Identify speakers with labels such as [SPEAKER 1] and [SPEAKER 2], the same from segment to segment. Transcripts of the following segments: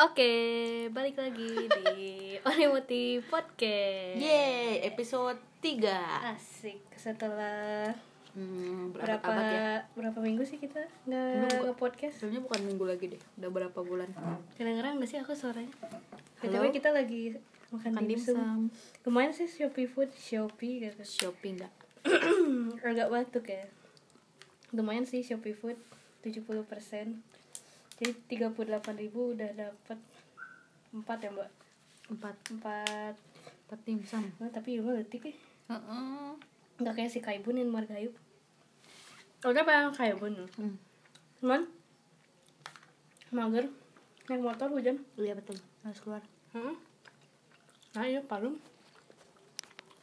[SPEAKER 1] Oke, balik lagi di Onimuti Podcast.
[SPEAKER 2] Yeay, episode 3
[SPEAKER 1] Asik. Setelah
[SPEAKER 2] hmm,
[SPEAKER 1] berapa
[SPEAKER 2] Berapa ya?
[SPEAKER 1] berapa minggu sih kita
[SPEAKER 2] Minggu.
[SPEAKER 1] nggak podcast?
[SPEAKER 2] Sebenarnya bukan minggu lagi deh, udah berapa bulan
[SPEAKER 1] Kedengeran nggak sih aku suaranya? Btw
[SPEAKER 2] Halo?
[SPEAKER 1] kita lagi makan,
[SPEAKER 2] Makan
[SPEAKER 1] dimsum.
[SPEAKER 2] Kan dimsum
[SPEAKER 1] Kemarin sih Shopee Food, Shopee gitu.
[SPEAKER 2] Shopping gak?
[SPEAKER 1] Agak batuk ya. Lumayan sih Shopee Food 70%. Jadi 38.000 udah dapat 4 ya, Mbak?
[SPEAKER 2] Empat
[SPEAKER 1] 4.
[SPEAKER 2] Empat dimsum
[SPEAKER 1] Nah, tapi juga detik ya.
[SPEAKER 2] Heeh.
[SPEAKER 1] Nggak kayak si Kaibun yang Margayu. Udah bayang Kaibun. loh.
[SPEAKER 2] Hmm,
[SPEAKER 1] Cuman mager naik motor hujan.
[SPEAKER 2] Iya betul, harus keluar
[SPEAKER 1] Heeh. Nah, iya Palung.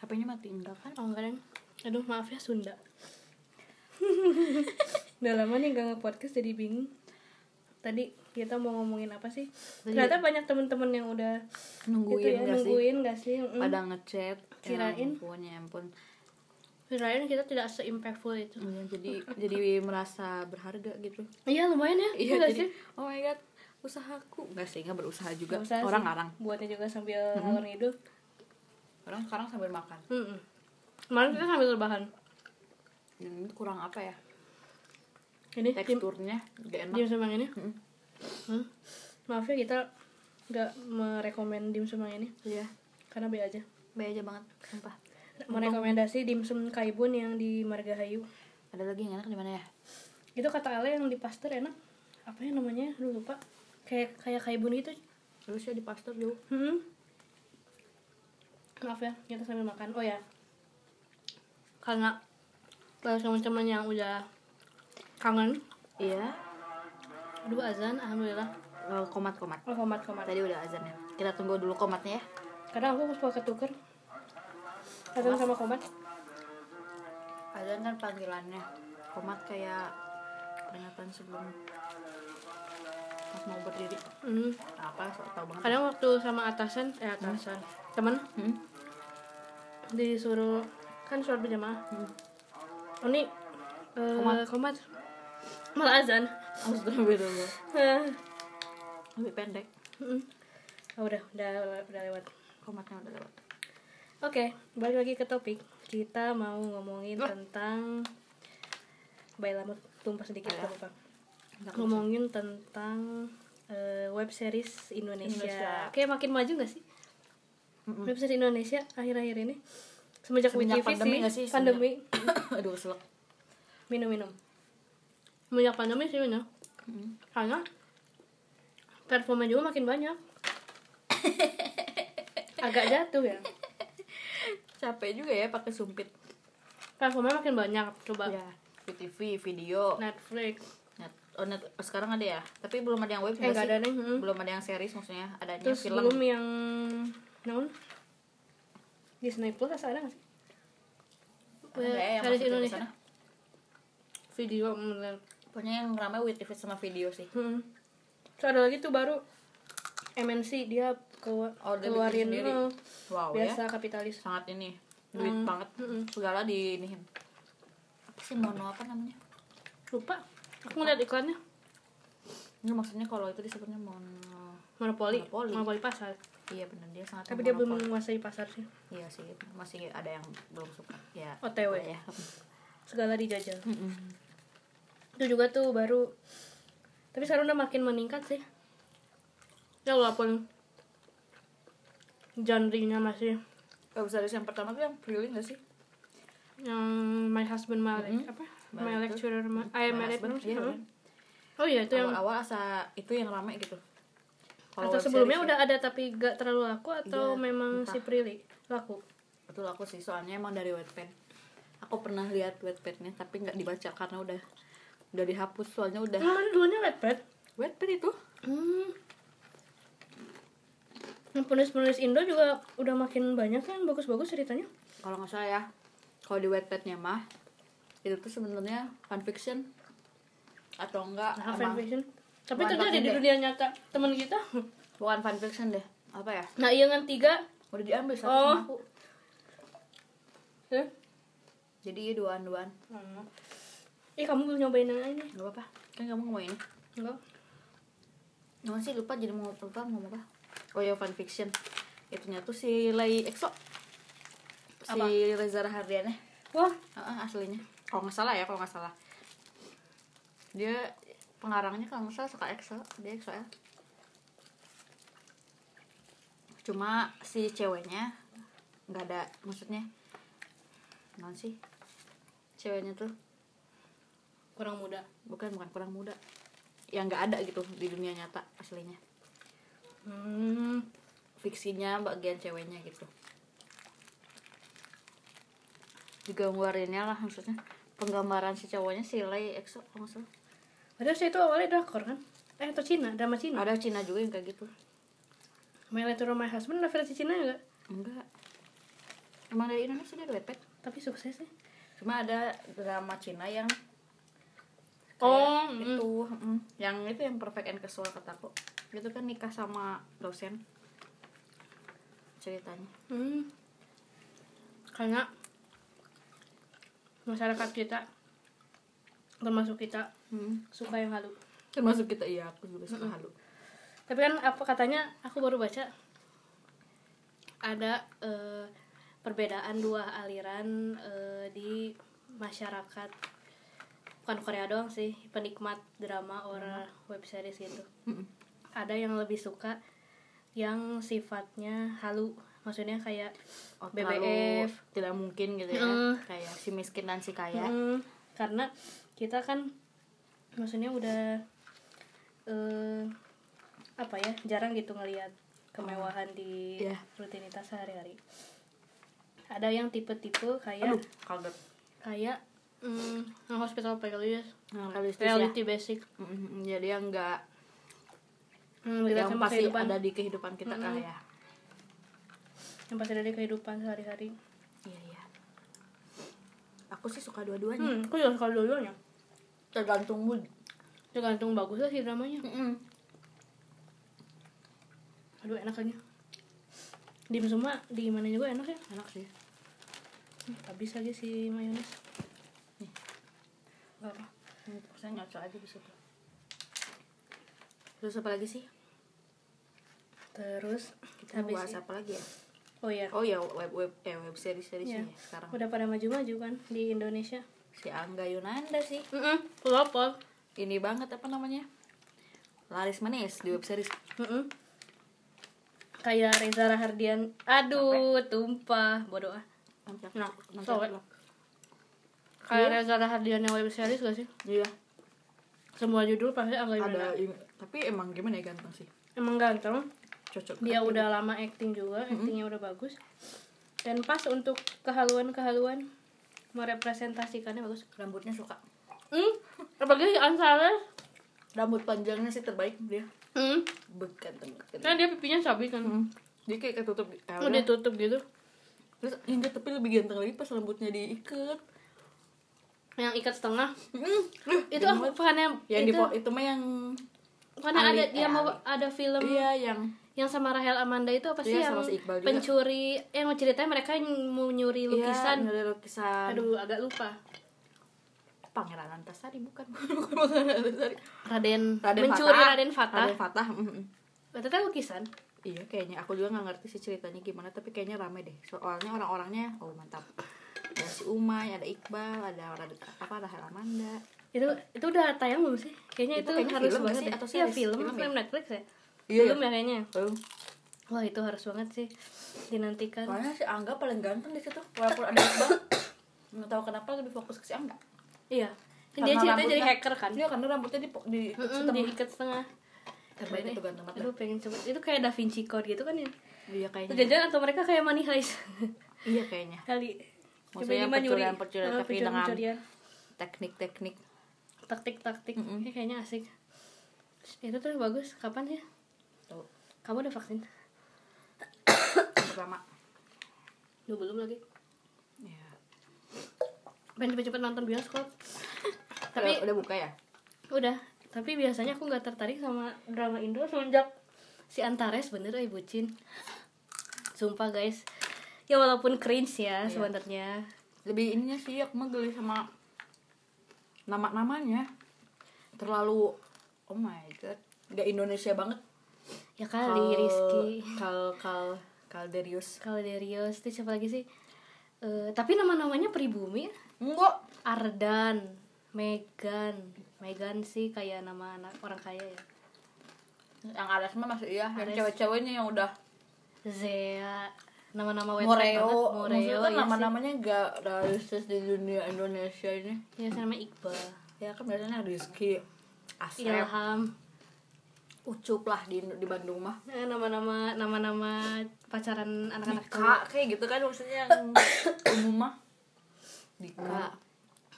[SPEAKER 2] HP-nya mati enggak kan?
[SPEAKER 1] Oh, enggak, Neng. Aduh, maaf ya Sunda. Udah lama nih gak nge-podcast jadi bingung. Tadi kita mau ngomongin apa sih?
[SPEAKER 2] Tadi-
[SPEAKER 1] Ternyata banyak temen-temen yang udah
[SPEAKER 2] Nungguin
[SPEAKER 1] gitu ya,
[SPEAKER 2] nggak sih? Hmm.
[SPEAKER 1] nungguin gak sih? Mm.
[SPEAKER 2] Pada ngechat
[SPEAKER 1] Kirain.
[SPEAKER 2] Ya ampun, ya ampun
[SPEAKER 1] Kirain kita tidak se-impactful itu.
[SPEAKER 2] Iya, Jadi jadi merasa berharga gitu
[SPEAKER 1] Iya, lumayan ya.
[SPEAKER 2] Iya
[SPEAKER 1] nggak
[SPEAKER 2] jadi,
[SPEAKER 1] sih?
[SPEAKER 2] oh my god usahaku Enggak sih, enggak berusaha juga
[SPEAKER 1] Nggak usah sih.
[SPEAKER 2] Orang ngarang
[SPEAKER 1] Buatnya juga sambil ngalor ngidul.
[SPEAKER 2] Orang sekarang sambil makan
[SPEAKER 1] Mm-mm. Kemarin kita sambil rebahan.
[SPEAKER 2] Hmm, Kurang apa ya?
[SPEAKER 1] Ini
[SPEAKER 2] Iya,
[SPEAKER 1] tim
[SPEAKER 2] Teksturnya gak enak
[SPEAKER 1] dimsum yang ini.
[SPEAKER 2] Mm.
[SPEAKER 1] Hmm. Maaf ya kita nggak merekomend dimsum yang ini
[SPEAKER 2] Iya
[SPEAKER 1] karena B aja.
[SPEAKER 2] Baik aja banget, sumpah.
[SPEAKER 1] Merekomendasi dimsum Kaibun yang di Margahayu.
[SPEAKER 2] Ada lagi yang enak di mana ya?
[SPEAKER 1] Itu kata Ale yang di Pasteur enak. Apa ya namanya? Lu lupa. Kayak kayak Kaibun gitu.
[SPEAKER 2] Terus ya di pastor dulu.
[SPEAKER 1] Hmm. Maaf ya, kita sambil makan. Oh ya. Karena kalau teman-teman yang udah kangen,
[SPEAKER 2] Iya.
[SPEAKER 1] aduh azan, alhamdulillah.
[SPEAKER 2] eh, Komat-komat.
[SPEAKER 1] Oh, komat komat.
[SPEAKER 2] Tadi udah azan ya. Kita tunggu dulu komatnya ya.
[SPEAKER 1] Kadang aku suka ketuker Azan sama komat
[SPEAKER 2] Azan kan panggilannya. Komat kayak peringatan sebelum pas mau berdiri.
[SPEAKER 1] hmm.
[SPEAKER 2] Apa? So tau banget.
[SPEAKER 1] Kadang waktu sama atasan Eh atasan Temen
[SPEAKER 2] Hmm?
[SPEAKER 1] disuruh Kan sholat berjamaah
[SPEAKER 2] Hmm.
[SPEAKER 1] Oh ini eh, komat. Malah azan
[SPEAKER 2] Maksudnya beda banget.
[SPEAKER 1] Eh,
[SPEAKER 2] Lebih pendek.
[SPEAKER 1] mm. oh, Udah, udah, udah lewat
[SPEAKER 2] Komatnya udah lewat.
[SPEAKER 1] Oke, balik lagi ke topik Kita mau ngomongin
[SPEAKER 2] Lah.
[SPEAKER 1] tentang Baik lama tumpah sedikit
[SPEAKER 2] Alah.
[SPEAKER 1] gak apa-apa.
[SPEAKER 2] Enggak
[SPEAKER 1] Ngomongin tentang eh, web series Indonesia.
[SPEAKER 2] Indonesia.
[SPEAKER 1] Kayak makin maju gak sih?
[SPEAKER 2] Mm-mm.
[SPEAKER 1] Web series Indonesia akhir-akhir ini semenjak,
[SPEAKER 2] Semenjak
[SPEAKER 1] WTV
[SPEAKER 2] pandemi
[SPEAKER 1] sih,
[SPEAKER 2] nggak sih?
[SPEAKER 1] pandemi
[SPEAKER 2] Hmm. Aduh, keselak.
[SPEAKER 1] minum-minum. Semenjak pandemi sih bener.
[SPEAKER 2] Mm.
[SPEAKER 1] Karena performa juga makin banyak. Agak jatuh ya.
[SPEAKER 2] Capek juga ya pakai sumpit.
[SPEAKER 1] Performanya makin banyak. Coba
[SPEAKER 2] Iya. Nah, VTV, video,
[SPEAKER 1] Netflix.
[SPEAKER 2] net, oh, net, sekarang ada ya, tapi belum ada yang web
[SPEAKER 1] Eh
[SPEAKER 2] nggak
[SPEAKER 1] enggak
[SPEAKER 2] sih?
[SPEAKER 1] ada nih. hmm.
[SPEAKER 2] belum ada yang series maksudnya adanya
[SPEAKER 1] Terus
[SPEAKER 2] film
[SPEAKER 1] belum yang namun Disney Plus ada nggak sih?
[SPEAKER 2] Ada ya
[SPEAKER 1] Series
[SPEAKER 2] yang masuk ke
[SPEAKER 1] eh, Indonesia.
[SPEAKER 2] sana.
[SPEAKER 1] Video bener.
[SPEAKER 2] pokoknya yang ramai with TV sama video sih
[SPEAKER 1] Hmm. Terus ada lagi tuh baru MNC dia keluar,
[SPEAKER 2] Oh, dia bikin
[SPEAKER 1] keluarin
[SPEAKER 2] sendiri.
[SPEAKER 1] eh,
[SPEAKER 2] wow ya
[SPEAKER 1] biasa kapitalis.
[SPEAKER 2] sangat ini duit
[SPEAKER 1] Hmm.
[SPEAKER 2] banget
[SPEAKER 1] Mm-mm.
[SPEAKER 2] segala di ini apa sih mono apa namanya
[SPEAKER 1] Lupa. Aku ngeliat iklannya
[SPEAKER 2] ini maksudnya kalau itu disebutnya mono
[SPEAKER 1] monopoli, monopoli,
[SPEAKER 2] Monopoli.
[SPEAKER 1] pasar.
[SPEAKER 2] iya benar dia sangat
[SPEAKER 1] Tapi dia belum
[SPEAKER 2] monopoli.
[SPEAKER 1] menguasai pasar sih.
[SPEAKER 2] iya sih masih ada yang belum suka ya
[SPEAKER 1] OTW.
[SPEAKER 2] boleh ya
[SPEAKER 1] Segala dijajal.
[SPEAKER 2] Mm-mm.
[SPEAKER 1] Itu juga tuh baru. Tapi sekarang udah makin meningkat sih. Ya walaupun genre-nya masih
[SPEAKER 2] Kalau series yang pertama tuh yang feeling gak sih
[SPEAKER 1] yang my husband my lec-
[SPEAKER 2] Mm-mm.
[SPEAKER 1] apa?
[SPEAKER 2] My
[SPEAKER 1] My
[SPEAKER 2] Lecturer.
[SPEAKER 1] lecturer, my, I am Ah, my
[SPEAKER 2] Mas,
[SPEAKER 1] lecturer.
[SPEAKER 2] bener, iya,
[SPEAKER 1] Hmm.
[SPEAKER 2] kan?
[SPEAKER 1] Oh iya itu yang
[SPEAKER 2] awal-awal asa itu yang ramai gitu Kalau
[SPEAKER 1] atau
[SPEAKER 2] web
[SPEAKER 1] sebelumnya
[SPEAKER 2] series ya.
[SPEAKER 1] udah ada tapi gak terlalu laku atau
[SPEAKER 2] Iya,
[SPEAKER 1] memang
[SPEAKER 2] entah.
[SPEAKER 1] si Prilly laku
[SPEAKER 2] betul aku sih soalnya emang dari Wattpad aku pernah lihat Wattpadnya tapi nggak dibaca karena udah udah dihapus soalnya udah
[SPEAKER 1] Emang dulunya Wattpad
[SPEAKER 2] Wattpad itu
[SPEAKER 1] hmm. Yang penulis-penulis Indo juga udah makin banyak kan bagus-bagus ceritanya
[SPEAKER 2] kalau nggak salah ya kalau di Wattpadnya mah itu tuh sebenarnya fanfiction atau enggak
[SPEAKER 1] nah,
[SPEAKER 2] emang
[SPEAKER 1] fanfiction tapi
[SPEAKER 2] Bukan
[SPEAKER 1] terjadi di
[SPEAKER 2] fanfiction
[SPEAKER 1] dunia nyata teman kita
[SPEAKER 2] bukan fanfiction deh apa ya
[SPEAKER 1] nah iya kan tiga
[SPEAKER 2] udah diambil satu
[SPEAKER 1] Oh.
[SPEAKER 2] sama aku
[SPEAKER 1] eh?
[SPEAKER 2] jadi iya duaan-duaan
[SPEAKER 1] Hmm. Ih kamu belum nyobain yang ini
[SPEAKER 2] nggak apa-apa kan kamu ngomongin
[SPEAKER 1] Enggak
[SPEAKER 2] Nggak sih lupa jadi mau lupa mau apa? Oh ya fanfiction. Itunya tuh si Lai EXO. Si
[SPEAKER 1] Apa?
[SPEAKER 2] Reza Rahardian ya.
[SPEAKER 1] wah
[SPEAKER 2] Heeh, aslinya. Kalau nggak salah ya, kalau nggak salah. Dia pengarangnya kalau nggak salah suka EXO, dia EXO ya. Cuma si ceweknya nggak ada, maksudnya non sih ceweknya tuh
[SPEAKER 1] kurang muda
[SPEAKER 2] bukan bukan kurang muda yang nggak ada gitu di dunia nyata aslinya
[SPEAKER 1] hmm
[SPEAKER 2] fiksinya bagian ceweknya gitu juga ngeluarinnya lah maksudnya penggambaran si cowoknya si Lai EXO kalau nggak salah.
[SPEAKER 1] padahal saya itu awalnya drakor kan eh atau Cina drama Cina
[SPEAKER 2] ada Cina juga yang kayak gitu
[SPEAKER 1] My Letter to My Husband ada versi Cina nggak
[SPEAKER 2] enggak emang dari Indonesia dia lepet
[SPEAKER 1] tapi sukses sih
[SPEAKER 2] cuma ada drama Cina yang kayak
[SPEAKER 1] Oh, mm.
[SPEAKER 2] itu mm, yang itu yang perfect and casual kataku itu kan nikah sama dosen ceritanya
[SPEAKER 1] Hmm. Karena masyarakat kita termasuk kita suka yang halu.
[SPEAKER 2] Mm. termasuk kita iya aku juga suka halu
[SPEAKER 1] Tapi kan apa katanya aku baru baca ada eh, perbedaan dua aliran eh, di masyarakat bukan Korea doang sih penikmat drama or web series gitu. Ada yang lebih suka yang sifatnya halu, maksudnya kayak
[SPEAKER 2] Oh,
[SPEAKER 1] BBF.
[SPEAKER 2] terlalu tidak mungkin gitu ya
[SPEAKER 1] Mm.
[SPEAKER 2] kayak si miskin dan si kaya
[SPEAKER 1] Mm, karena kita kan maksudnya udah eh apa ya jarang gitu ngelihat kemewahan di
[SPEAKER 2] Iya.
[SPEAKER 1] rutinitas sehari-hari. Ada yang tipe-tipe kayak
[SPEAKER 2] aduh kaget
[SPEAKER 1] kayak mm, hospital playlist,
[SPEAKER 2] nah, realistis
[SPEAKER 1] reality basic,
[SPEAKER 2] ya Mm, mm, jadi yang enggak
[SPEAKER 1] mm, relate
[SPEAKER 2] Hmm, yang
[SPEAKER 1] sama
[SPEAKER 2] pasti
[SPEAKER 1] kehidupan,
[SPEAKER 2] ada di kehidupan kita
[SPEAKER 1] Mm.
[SPEAKER 2] kali ya
[SPEAKER 1] yang pasti ada di kehidupan sehari-hari.
[SPEAKER 2] iya iya aku sih suka dua-duanya
[SPEAKER 1] Hmm, aku juga suka dua-duanya.
[SPEAKER 2] tergantung mood
[SPEAKER 1] Tergantung bagus lah sih dramanya. Aduh enak kayaknya. Dim semua di mana juga enak ya.
[SPEAKER 2] enak sih
[SPEAKER 1] Hmm, habis aja si mayones
[SPEAKER 2] Nih.
[SPEAKER 1] Gak apa
[SPEAKER 2] Hmm, saya nyocok aja di situ terus apa lagi sih
[SPEAKER 1] terus
[SPEAKER 2] kita mau
[SPEAKER 1] habis
[SPEAKER 2] bahas
[SPEAKER 1] ya.
[SPEAKER 2] apa lagi ya
[SPEAKER 1] oh iya
[SPEAKER 2] oh ya web web eh web series seriesnya
[SPEAKER 1] Iya.
[SPEAKER 2] ya sekarang
[SPEAKER 1] udah pada maju-maju kan di Indonesia
[SPEAKER 2] si Angga Yunanda sih
[SPEAKER 1] Heeh, pelopor
[SPEAKER 2] ini banget apa namanya laris manis di web series
[SPEAKER 1] Mm-mm. kayak Reza Rahardian aduh tumpah bodoh ah
[SPEAKER 2] Mantap.
[SPEAKER 1] Nah,
[SPEAKER 2] Mantap.
[SPEAKER 1] sobek. kayak Reza Rahardian yang web series gak sih
[SPEAKER 2] Iya,
[SPEAKER 1] semua judul pasti agak
[SPEAKER 2] ada
[SPEAKER 1] Yunanda
[SPEAKER 2] ini. tapi emang gimana ya ganteng sih?
[SPEAKER 1] emang ganteng
[SPEAKER 2] Cocok.
[SPEAKER 1] dia udah lama acting juga actingnya udah bagus dan pas untuk kehaluan-kehaluan merepresentasikannya bagus
[SPEAKER 2] rambutnya suka.
[SPEAKER 1] Hmm, apalagi si Ansara.
[SPEAKER 2] Rambut panjangnya sih terbaik dia.
[SPEAKER 1] Hmm,
[SPEAKER 2] Beganteng.
[SPEAKER 1] kan dia pipinya sabi kan.
[SPEAKER 2] Hmm. Dia kayak ketutup eh,
[SPEAKER 1] Udah
[SPEAKER 2] udah.
[SPEAKER 1] ditutup gitu.
[SPEAKER 2] Terus enggak tapi lebih ganteng lagi pas rambutnya diikat.
[SPEAKER 1] Yang ikat setengah.
[SPEAKER 2] Mm.
[SPEAKER 1] Itu aku bukannya
[SPEAKER 2] yang
[SPEAKER 1] itu,
[SPEAKER 2] di po- itu mah yang
[SPEAKER 1] karena
[SPEAKER 2] Ali-
[SPEAKER 1] ada
[SPEAKER 2] eh,
[SPEAKER 1] dia mau
[SPEAKER 2] Ali.
[SPEAKER 1] ada film
[SPEAKER 2] iya yang
[SPEAKER 1] yang sama Rahel Amanda itu apa sih
[SPEAKER 2] Iya,
[SPEAKER 1] yang
[SPEAKER 2] sama si Iqbal juga.
[SPEAKER 1] pencuri eh, yang ceritanya mereka yang mau nyuri
[SPEAKER 2] lukisan
[SPEAKER 1] lukisan.
[SPEAKER 2] dari iya, lukisan
[SPEAKER 1] Aduh, agak lupa.
[SPEAKER 2] Pangeran Antasari bukan bukan Pangeran Antasari
[SPEAKER 1] Raden,
[SPEAKER 2] Raden
[SPEAKER 1] mencuri
[SPEAKER 2] Fatah.
[SPEAKER 1] Raden Fatah.
[SPEAKER 2] Raden Fatah mm-mm.
[SPEAKER 1] Itu kan lukisan.
[SPEAKER 2] Iya kayaknya aku juga nggak ngerti sih ceritanya gimana tapi kayaknya rame deh soalnya orang-orangnya oh mantap ada si Umay ada Iqbal ada ada apa ada Amanda
[SPEAKER 1] Itu itu udah tayang belum sih? Kayaknya
[SPEAKER 2] Itu
[SPEAKER 1] itu,
[SPEAKER 2] kayaknya
[SPEAKER 1] harus
[SPEAKER 2] film
[SPEAKER 1] banget
[SPEAKER 2] nggak sih?
[SPEAKER 1] ya.
[SPEAKER 2] Atau
[SPEAKER 1] Iya,
[SPEAKER 2] series?
[SPEAKER 1] film,
[SPEAKER 2] Film
[SPEAKER 1] film,
[SPEAKER 2] ya?
[SPEAKER 1] Netflix ya.
[SPEAKER 2] Iya,
[SPEAKER 1] Belum ya kayaknya.
[SPEAKER 2] oh
[SPEAKER 1] Wah, itu harus banget sih dinantikan.
[SPEAKER 2] soalnya si Angga paling ganteng di situ walaupun ada Iqbal nggak tahu kenapa lebih fokus ke si Angga
[SPEAKER 1] Iya. Kan
[SPEAKER 2] Karena
[SPEAKER 1] dia ceritanya jadi
[SPEAKER 2] rambutnya-
[SPEAKER 1] hacker kan.
[SPEAKER 2] iya karena rambutnya di di
[SPEAKER 1] Heeh,
[SPEAKER 2] setengah.
[SPEAKER 1] diikat setengah.
[SPEAKER 2] Terbaik
[SPEAKER 1] Ini-
[SPEAKER 2] itu ganteng banget
[SPEAKER 1] Aduh, pengen coba. Itu kayak Da Vinci Code gitu kan ya.
[SPEAKER 2] iya
[SPEAKER 1] Atau
[SPEAKER 2] kayaknya
[SPEAKER 1] Jajan atau mereka kayak Money Heist
[SPEAKER 2] iya kayaknya
[SPEAKER 1] kali. ini
[SPEAKER 2] Maksudnya
[SPEAKER 1] mah nyuri.
[SPEAKER 2] pencurian-pencurian,
[SPEAKER 1] Eh,
[SPEAKER 2] tapi dengan-
[SPEAKER 1] pencurian-pencurian.
[SPEAKER 2] teknik-teknik
[SPEAKER 1] taktik-taktik.
[SPEAKER 2] Mm-mm.
[SPEAKER 1] Ini kayaknya asik. Itu tuh bagus. Kapan ya?
[SPEAKER 2] tuh
[SPEAKER 1] Kamu udah vaksin?
[SPEAKER 2] pertama
[SPEAKER 1] Lu belum lagi.
[SPEAKER 2] ya
[SPEAKER 1] Pengen cepet-cepet nonton bioskop.
[SPEAKER 2] tapi
[SPEAKER 1] Tapi-
[SPEAKER 2] udah buka ya
[SPEAKER 1] Udah. Tapi biasanya aku nggak tertarik sama drama Indo semenjak si Antares bener eh bucin. Sumpah guys. Ya walaupun cringe ya
[SPEAKER 2] Iya.
[SPEAKER 1] sebenarnya.
[SPEAKER 2] lebih ininya sih aku mah geli sama nama namanya terlalu oh my god nggak Indonesia banget
[SPEAKER 1] ya kali Rizky
[SPEAKER 2] kal kal Kalderius
[SPEAKER 1] Calderius itu siapa lagi sih Eh, tapi nama-namanya pribumi
[SPEAKER 2] enggak
[SPEAKER 1] Ardan Megan Megan sih kayak nama anak orang kaya ya
[SPEAKER 2] yang Ares mah masih iya yang
[SPEAKER 1] Ares.
[SPEAKER 2] cewek-ceweknya yang udah
[SPEAKER 1] Zea nama-nama white
[SPEAKER 2] Moreo
[SPEAKER 1] banget
[SPEAKER 2] Maksudnya
[SPEAKER 1] Moreo ya
[SPEAKER 2] kan
[SPEAKER 1] sih.
[SPEAKER 2] nama-namanya gak realistis di dunia Indonesia ini
[SPEAKER 1] ya saya namanya Iqbal
[SPEAKER 2] ya kan biasanya Rizky Asep
[SPEAKER 1] Ilham
[SPEAKER 2] Ucup lah di, di Bandung mah
[SPEAKER 1] Eh, nama-nama nama-nama pacaran anak-anak cowok
[SPEAKER 2] Kak kayak gitu kan maksudnya yang umum mah Dika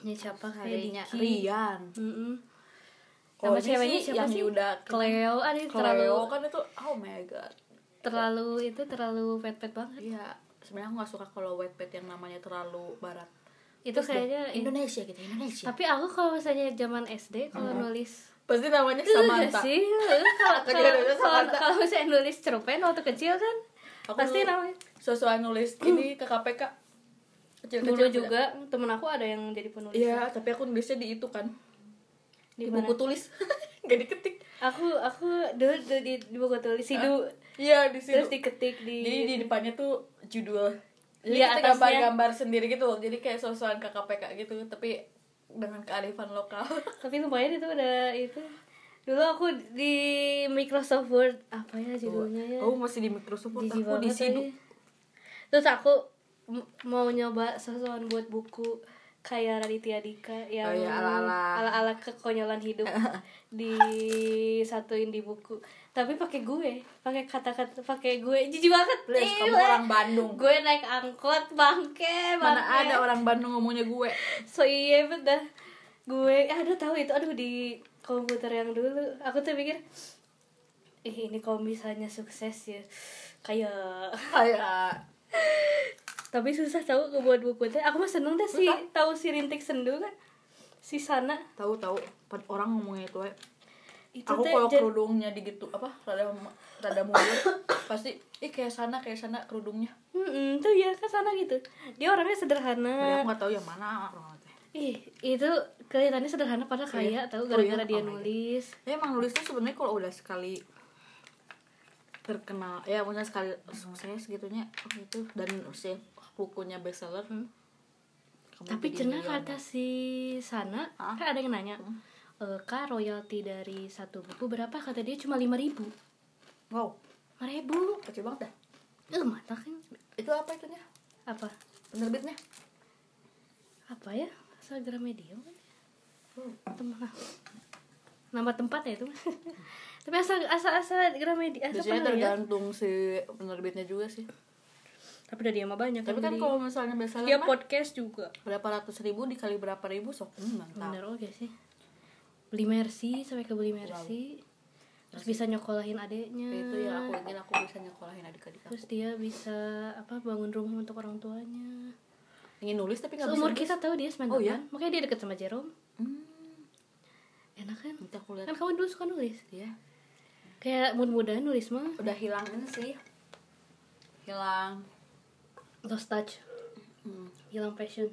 [SPEAKER 1] ini siapa
[SPEAKER 2] Rinya
[SPEAKER 1] kayak Diki
[SPEAKER 2] Rian
[SPEAKER 1] Eh, Mm-mm. Nama
[SPEAKER 2] Kalau Oh, ini
[SPEAKER 1] ceweknya
[SPEAKER 2] sih
[SPEAKER 1] siapa
[SPEAKER 2] yang
[SPEAKER 1] sih?
[SPEAKER 2] di udah
[SPEAKER 1] Cleo ada yang terlalu
[SPEAKER 2] Cleo kan itu oh my god
[SPEAKER 1] terlalu itu terlalu pet-pet banget.
[SPEAKER 2] Iya sebenarnya aku gak suka kalau wetpad yang namanya terlalu barat
[SPEAKER 1] Itu kayaknya
[SPEAKER 2] Indonesia gitu Indonesia
[SPEAKER 1] tapi aku kalau misalnya zaman SD kalau nulis
[SPEAKER 2] pasti namanya
[SPEAKER 1] Itu juga Iya
[SPEAKER 2] Samantha
[SPEAKER 1] sih Itu kalau-
[SPEAKER 2] Aku juga nulis
[SPEAKER 1] kalau
[SPEAKER 2] Samantha.
[SPEAKER 1] kalau misalnya nulis cerpen waktu kecil kan
[SPEAKER 2] Aku
[SPEAKER 1] pasti
[SPEAKER 2] dulu-
[SPEAKER 1] namanya
[SPEAKER 2] sesuai nulis ini ke KPK Kecil-kecil
[SPEAKER 1] dulu
[SPEAKER 2] beda.
[SPEAKER 1] juga temen aku ada yang jadi penulis
[SPEAKER 2] Iya, tapi aku nulisnya di itu kan.
[SPEAKER 1] Di
[SPEAKER 2] Di,
[SPEAKER 1] mana?
[SPEAKER 2] buku tulis. Gak diketik.
[SPEAKER 1] aku aku dulu dulu di, di buku tulis sidu
[SPEAKER 2] Iya, di situ.
[SPEAKER 1] terus diketik di
[SPEAKER 2] Jadi di depannya tuh judul. Jadi
[SPEAKER 1] Iya,
[SPEAKER 2] kita
[SPEAKER 1] atasnya.
[SPEAKER 2] gambar-gambar sendiri gitu loh. Jadi kayak sosokan ke KPK gitu, tapi dengan kearifan lokal.
[SPEAKER 1] tapi lumayan itu udah itu dulu aku di Microsoft Word apa ya judulnya ya
[SPEAKER 2] Aku Oh, masih di Microsoft Word,
[SPEAKER 1] Jijik
[SPEAKER 2] aku di
[SPEAKER 1] banget
[SPEAKER 2] situ.
[SPEAKER 1] lagi. terus aku m- mau nyoba sesuatu buat buku kayak Raditya Dika yang
[SPEAKER 2] Oh iya, ala-ala.
[SPEAKER 1] ala-ala kekonyolan hidup disatuin di buku tapi pakai gue pakai kata-kata pakai gue jijik banget
[SPEAKER 2] Please,
[SPEAKER 1] Ih,
[SPEAKER 2] kamu orang Bandung.
[SPEAKER 1] gue naik angkot bangke
[SPEAKER 2] Mana
[SPEAKER 1] bangke.
[SPEAKER 2] ada orang Bandung ngomongnya gue.
[SPEAKER 1] so iya bener gue aduh tahu itu aduh di komputer yang dulu aku tuh pikir ih ini kalau misalnya sukses ya kayak
[SPEAKER 2] Kayak
[SPEAKER 1] tapi susah tahu ngebuat buku teh aku mah seneng deh si tahu si rintik sendu kan si sana
[SPEAKER 2] tahu-tahu pad- orang ngomongnya itu aja.
[SPEAKER 1] itu
[SPEAKER 2] aku
[SPEAKER 1] teh
[SPEAKER 2] kalau
[SPEAKER 1] jen-
[SPEAKER 2] kerudungnya di gitu apa rada rada mundur pasti ih kayak sana kayak sana kerudungnya
[SPEAKER 1] Mm-mm, tuh ya kan sana gitu dia orangnya
[SPEAKER 2] Padahal
[SPEAKER 1] sederhana
[SPEAKER 2] aku gak tahu yang mana orang teh.
[SPEAKER 1] ih itu kelihatannya sederhana padahal kaya tahu
[SPEAKER 2] Oh iya?
[SPEAKER 1] gara-gara dia
[SPEAKER 2] Oh my God.
[SPEAKER 1] nulis
[SPEAKER 2] Ya, emang nulis tuh sebenarnya kalau udah sekali terkenal ya maksudnya sekali sukses segitunya oh gitu dan si bukunya bestseller hmm. kamu
[SPEAKER 1] tapi
[SPEAKER 2] jadi
[SPEAKER 1] cerna kata
[SPEAKER 2] miliarder.
[SPEAKER 1] si sana
[SPEAKER 2] Hah? Hmm.
[SPEAKER 1] kan ada yang nanya e, kak royalti dari satu buku berapa kata dia cuma lima ribu
[SPEAKER 2] wow
[SPEAKER 1] lima ribu
[SPEAKER 2] kecil banget dah
[SPEAKER 1] eh mata kan
[SPEAKER 2] itu apa itunya
[SPEAKER 1] apa
[SPEAKER 2] penerbitnya
[SPEAKER 1] apa ya asal Gramedia kan
[SPEAKER 2] Hmm.
[SPEAKER 1] teman nama tempat ya itu tapi asal asal asal Gramedia asal
[SPEAKER 2] biasanya
[SPEAKER 1] pernah ya.
[SPEAKER 2] tergantung si penerbitnya juga sih
[SPEAKER 1] tapi udah dia mah banyak
[SPEAKER 2] tapi
[SPEAKER 1] yang beli.
[SPEAKER 2] kan
[SPEAKER 1] Iya,
[SPEAKER 2] kalau misalnya bestseller
[SPEAKER 1] dia
[SPEAKER 2] mah,
[SPEAKER 1] podcast juga
[SPEAKER 2] berapa ratus ribu dikali berapa ribu sok hmm, mantap
[SPEAKER 1] bener oke sih beli mercy sampai ke beli mercy terus bisa nyokolahin adeknya
[SPEAKER 2] itu yang aku ingin aku bisa nyekolahin adik-adik aku
[SPEAKER 1] terus dia bisa apa bangun rumah untuk orang tuanya
[SPEAKER 2] ingin nulis tapi nggak bisa
[SPEAKER 1] seumur kita tahu dia 98
[SPEAKER 2] Oh, iya?
[SPEAKER 1] makanya dia deket sama Jerome
[SPEAKER 2] hmm,
[SPEAKER 1] enak kan
[SPEAKER 2] nanti aku lihat
[SPEAKER 1] kan kamu dulu suka nulis
[SPEAKER 2] ya
[SPEAKER 1] kayak mudah-mudahan nulis mah
[SPEAKER 2] udah hilang ini sih hilang
[SPEAKER 1] lost touch
[SPEAKER 2] hmm.
[SPEAKER 1] hilang passion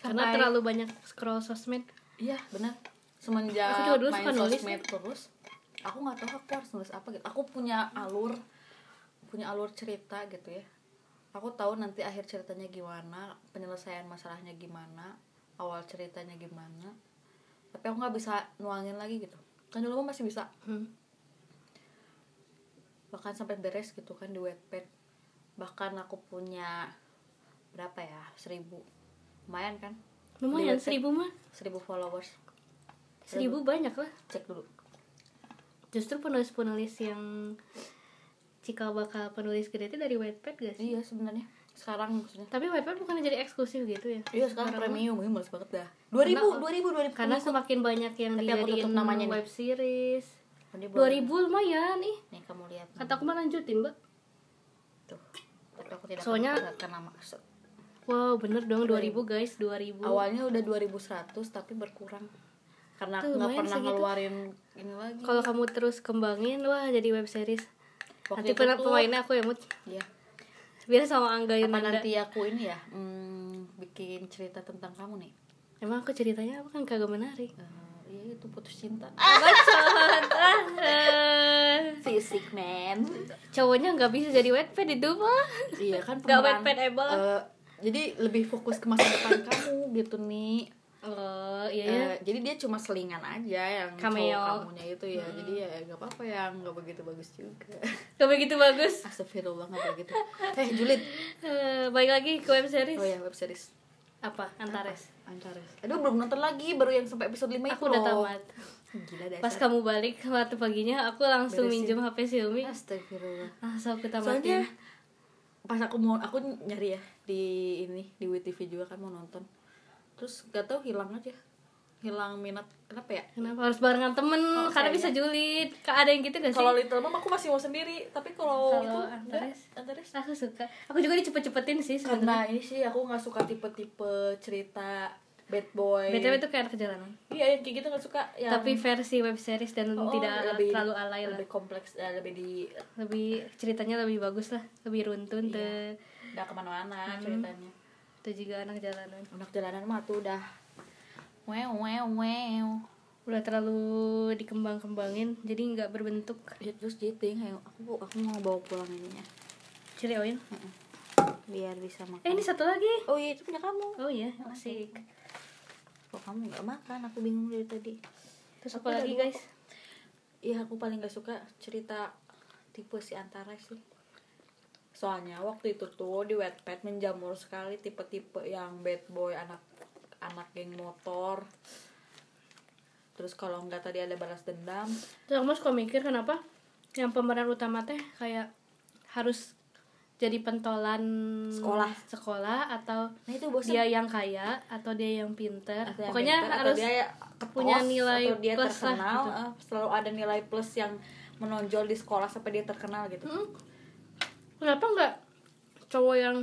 [SPEAKER 1] karena
[SPEAKER 2] Sampai-
[SPEAKER 1] terlalu banyak scroll sosmed
[SPEAKER 2] iya benar semenjak
[SPEAKER 1] Aku juga dulu
[SPEAKER 2] main
[SPEAKER 1] suka nulis, kan.
[SPEAKER 2] sosmed terus aku nggak tahu aku harus nulis apa gitu aku punya alur punya alur cerita gitu ya aku tahu nanti akhir ceritanya gimana penyelesaian masalahnya gimana awal ceritanya gimana tapi aku nggak bisa nuangin lagi gitu kan dulu mah masih bisa
[SPEAKER 1] Hmm.
[SPEAKER 2] bahkan sampai beres gitu kan di wetpad bahkan aku punya berapa ya seribu lumayan kan
[SPEAKER 1] lumayan
[SPEAKER 2] Di website.
[SPEAKER 1] seribu mah
[SPEAKER 2] seribu followers
[SPEAKER 1] seribu banyak lah
[SPEAKER 2] cek dulu
[SPEAKER 1] justru penulis-penulis yang cikal bakal penulis gede itu dari Wattpad gak sih?
[SPEAKER 2] iya sebenarnya sekarang maksudnya
[SPEAKER 1] tapi Wattpad bukannya jadi eksklusif gitu ya?
[SPEAKER 2] iya sekarang premium ini males banget dah dua ribu dua ribu dua ribu
[SPEAKER 1] karena semakin banyak yang
[SPEAKER 2] Tapi aku tutup
[SPEAKER 1] dijadiin
[SPEAKER 2] namanya nih.
[SPEAKER 1] web series 2000 lumayan ih
[SPEAKER 2] nih kamu lihat
[SPEAKER 1] kata aku mah lanjutin mbak
[SPEAKER 2] tuh tapi aku tidak
[SPEAKER 1] Soalnya-
[SPEAKER 2] menyebutkan nama
[SPEAKER 1] wow bener dong 2000 guys 2000
[SPEAKER 2] awalnya udah 2100 tapi berkurang karena aku
[SPEAKER 1] Tuh,
[SPEAKER 2] nggak
[SPEAKER 1] lumayan
[SPEAKER 2] pernah
[SPEAKER 1] segitu.
[SPEAKER 2] ngeluarin ini lagi
[SPEAKER 1] kalau kamu terus kembangin wah jadi web series nanti
[SPEAKER 2] itu
[SPEAKER 1] pernah
[SPEAKER 2] tuh-
[SPEAKER 1] pemainnya aku ya mut
[SPEAKER 2] iya
[SPEAKER 1] biar sama Angga
[SPEAKER 2] apa
[SPEAKER 1] Yunanda
[SPEAKER 2] nanti aku ini ya hmm, bikin cerita tentang kamu nih
[SPEAKER 1] emang aku ceritanya apa kan kagak menarik
[SPEAKER 2] Eh, iya itu putus cinta
[SPEAKER 1] bacot ah, eh.
[SPEAKER 2] fisik man
[SPEAKER 1] cowoknya nggak bisa jadi wetpad itu mah
[SPEAKER 2] iya kan
[SPEAKER 1] Nggak
[SPEAKER 2] pemeran,
[SPEAKER 1] wet-wetable.
[SPEAKER 2] eh, jadi lebih fokus ke masa depan kamu gitu nih
[SPEAKER 1] oh iya ya
[SPEAKER 2] Eh, jadi dia cuma selingan aja yang
[SPEAKER 1] Cameo. Hmm.
[SPEAKER 2] cowok kamunya itu ya jadi ya gak apa-apa yang gak begitu bagus juga
[SPEAKER 1] nggak begitu bagus
[SPEAKER 2] Astagfirullah gak begitu eh Julid
[SPEAKER 1] Eh, balik lagi ke web series
[SPEAKER 2] oh ya web series
[SPEAKER 1] iya. apa Antares
[SPEAKER 2] Antares aduh belum nonton lagi baru yang sampai episode 5 itu
[SPEAKER 1] aku udah
[SPEAKER 2] loh.
[SPEAKER 1] tamat
[SPEAKER 2] gila dasar
[SPEAKER 1] pas kamu balik waktu paginya aku langsung minjem
[SPEAKER 2] Beresin.
[SPEAKER 1] hp si Umi
[SPEAKER 2] Astagfirullah
[SPEAKER 1] langsung aku
[SPEAKER 2] soalnya
[SPEAKER 1] tamatin
[SPEAKER 2] pas aku mau aku nyari ya di ini di WTV juga kan mau nonton terus gak tahu hilang aja hilang minat kenapa ya
[SPEAKER 1] kenapa harus barengan temen
[SPEAKER 2] Oh,
[SPEAKER 1] karena
[SPEAKER 2] kayaknya.
[SPEAKER 1] bisa julid Ka- ada yang gitu gak sih
[SPEAKER 2] kalau Little Mom aku masih mau sendiri tapi Iya kalau
[SPEAKER 1] Kalau
[SPEAKER 2] itu
[SPEAKER 1] Antares?
[SPEAKER 2] enggak, Antares
[SPEAKER 1] aku suka aku juga dicepet-cepetin sih sebenarnya
[SPEAKER 2] karena ini sih aku nggak suka tipe-tipe cerita bad boy
[SPEAKER 1] btw itu kayak perjalanan
[SPEAKER 2] iya yang kayak gitu nggak suka yang
[SPEAKER 1] tapi versi web series dan
[SPEAKER 2] Oh,
[SPEAKER 1] tidak
[SPEAKER 2] lebih-
[SPEAKER 1] terlalu alay lah
[SPEAKER 2] lebih kompleks eh, lebih di
[SPEAKER 1] lebih ceritanya lebih bagus lah lebih runtun
[SPEAKER 2] Iya.
[SPEAKER 1] tuh
[SPEAKER 2] nggak kemana-mana ceritanya
[SPEAKER 1] itu juga anak jalanan
[SPEAKER 2] anak jalanan mah tuh udah wew wew wew
[SPEAKER 1] udah terlalu dikembang-kembangin jadi nggak berbentuk
[SPEAKER 2] ya terus jitting ayo aku aku mau bawa pulang ininya
[SPEAKER 1] ciri oin
[SPEAKER 2] biar bisa makan
[SPEAKER 1] eh ini satu lagi
[SPEAKER 2] oh iya itu punya kamu
[SPEAKER 1] oh iya asik
[SPEAKER 2] kok kamu nggak makan aku bingung dari tadi
[SPEAKER 1] terus
[SPEAKER 2] Aku
[SPEAKER 1] apa lagi
[SPEAKER 2] udah dua
[SPEAKER 1] guys
[SPEAKER 2] iya aku paling gak suka cerita tipe si antara sih soalnya waktu itu tuh di Wattpad menjamur sekali tipe-tipe yang bad boy anak anak geng motor terus kalau nggak tadi ada balas dendam
[SPEAKER 1] terus aku suka mikir kenapa yang pemeran utama teh kayak harus jadi pentolan
[SPEAKER 2] Sekolah.
[SPEAKER 1] sekolah atau
[SPEAKER 2] nah itu bosan
[SPEAKER 1] dia yang kaya atau dia yang pinter
[SPEAKER 2] Atau yang
[SPEAKER 1] pokoknya
[SPEAKER 2] pintar, atau
[SPEAKER 1] harus
[SPEAKER 2] dia ya ketos,
[SPEAKER 1] punya nilai
[SPEAKER 2] atau dia
[SPEAKER 1] plus lah,
[SPEAKER 2] terkenal
[SPEAKER 1] gitu.
[SPEAKER 2] eh, selalu ada nilai plus yang menonjol di sekolah sampai dia terkenal gitu
[SPEAKER 1] Mm. kenapa nggak cowok yang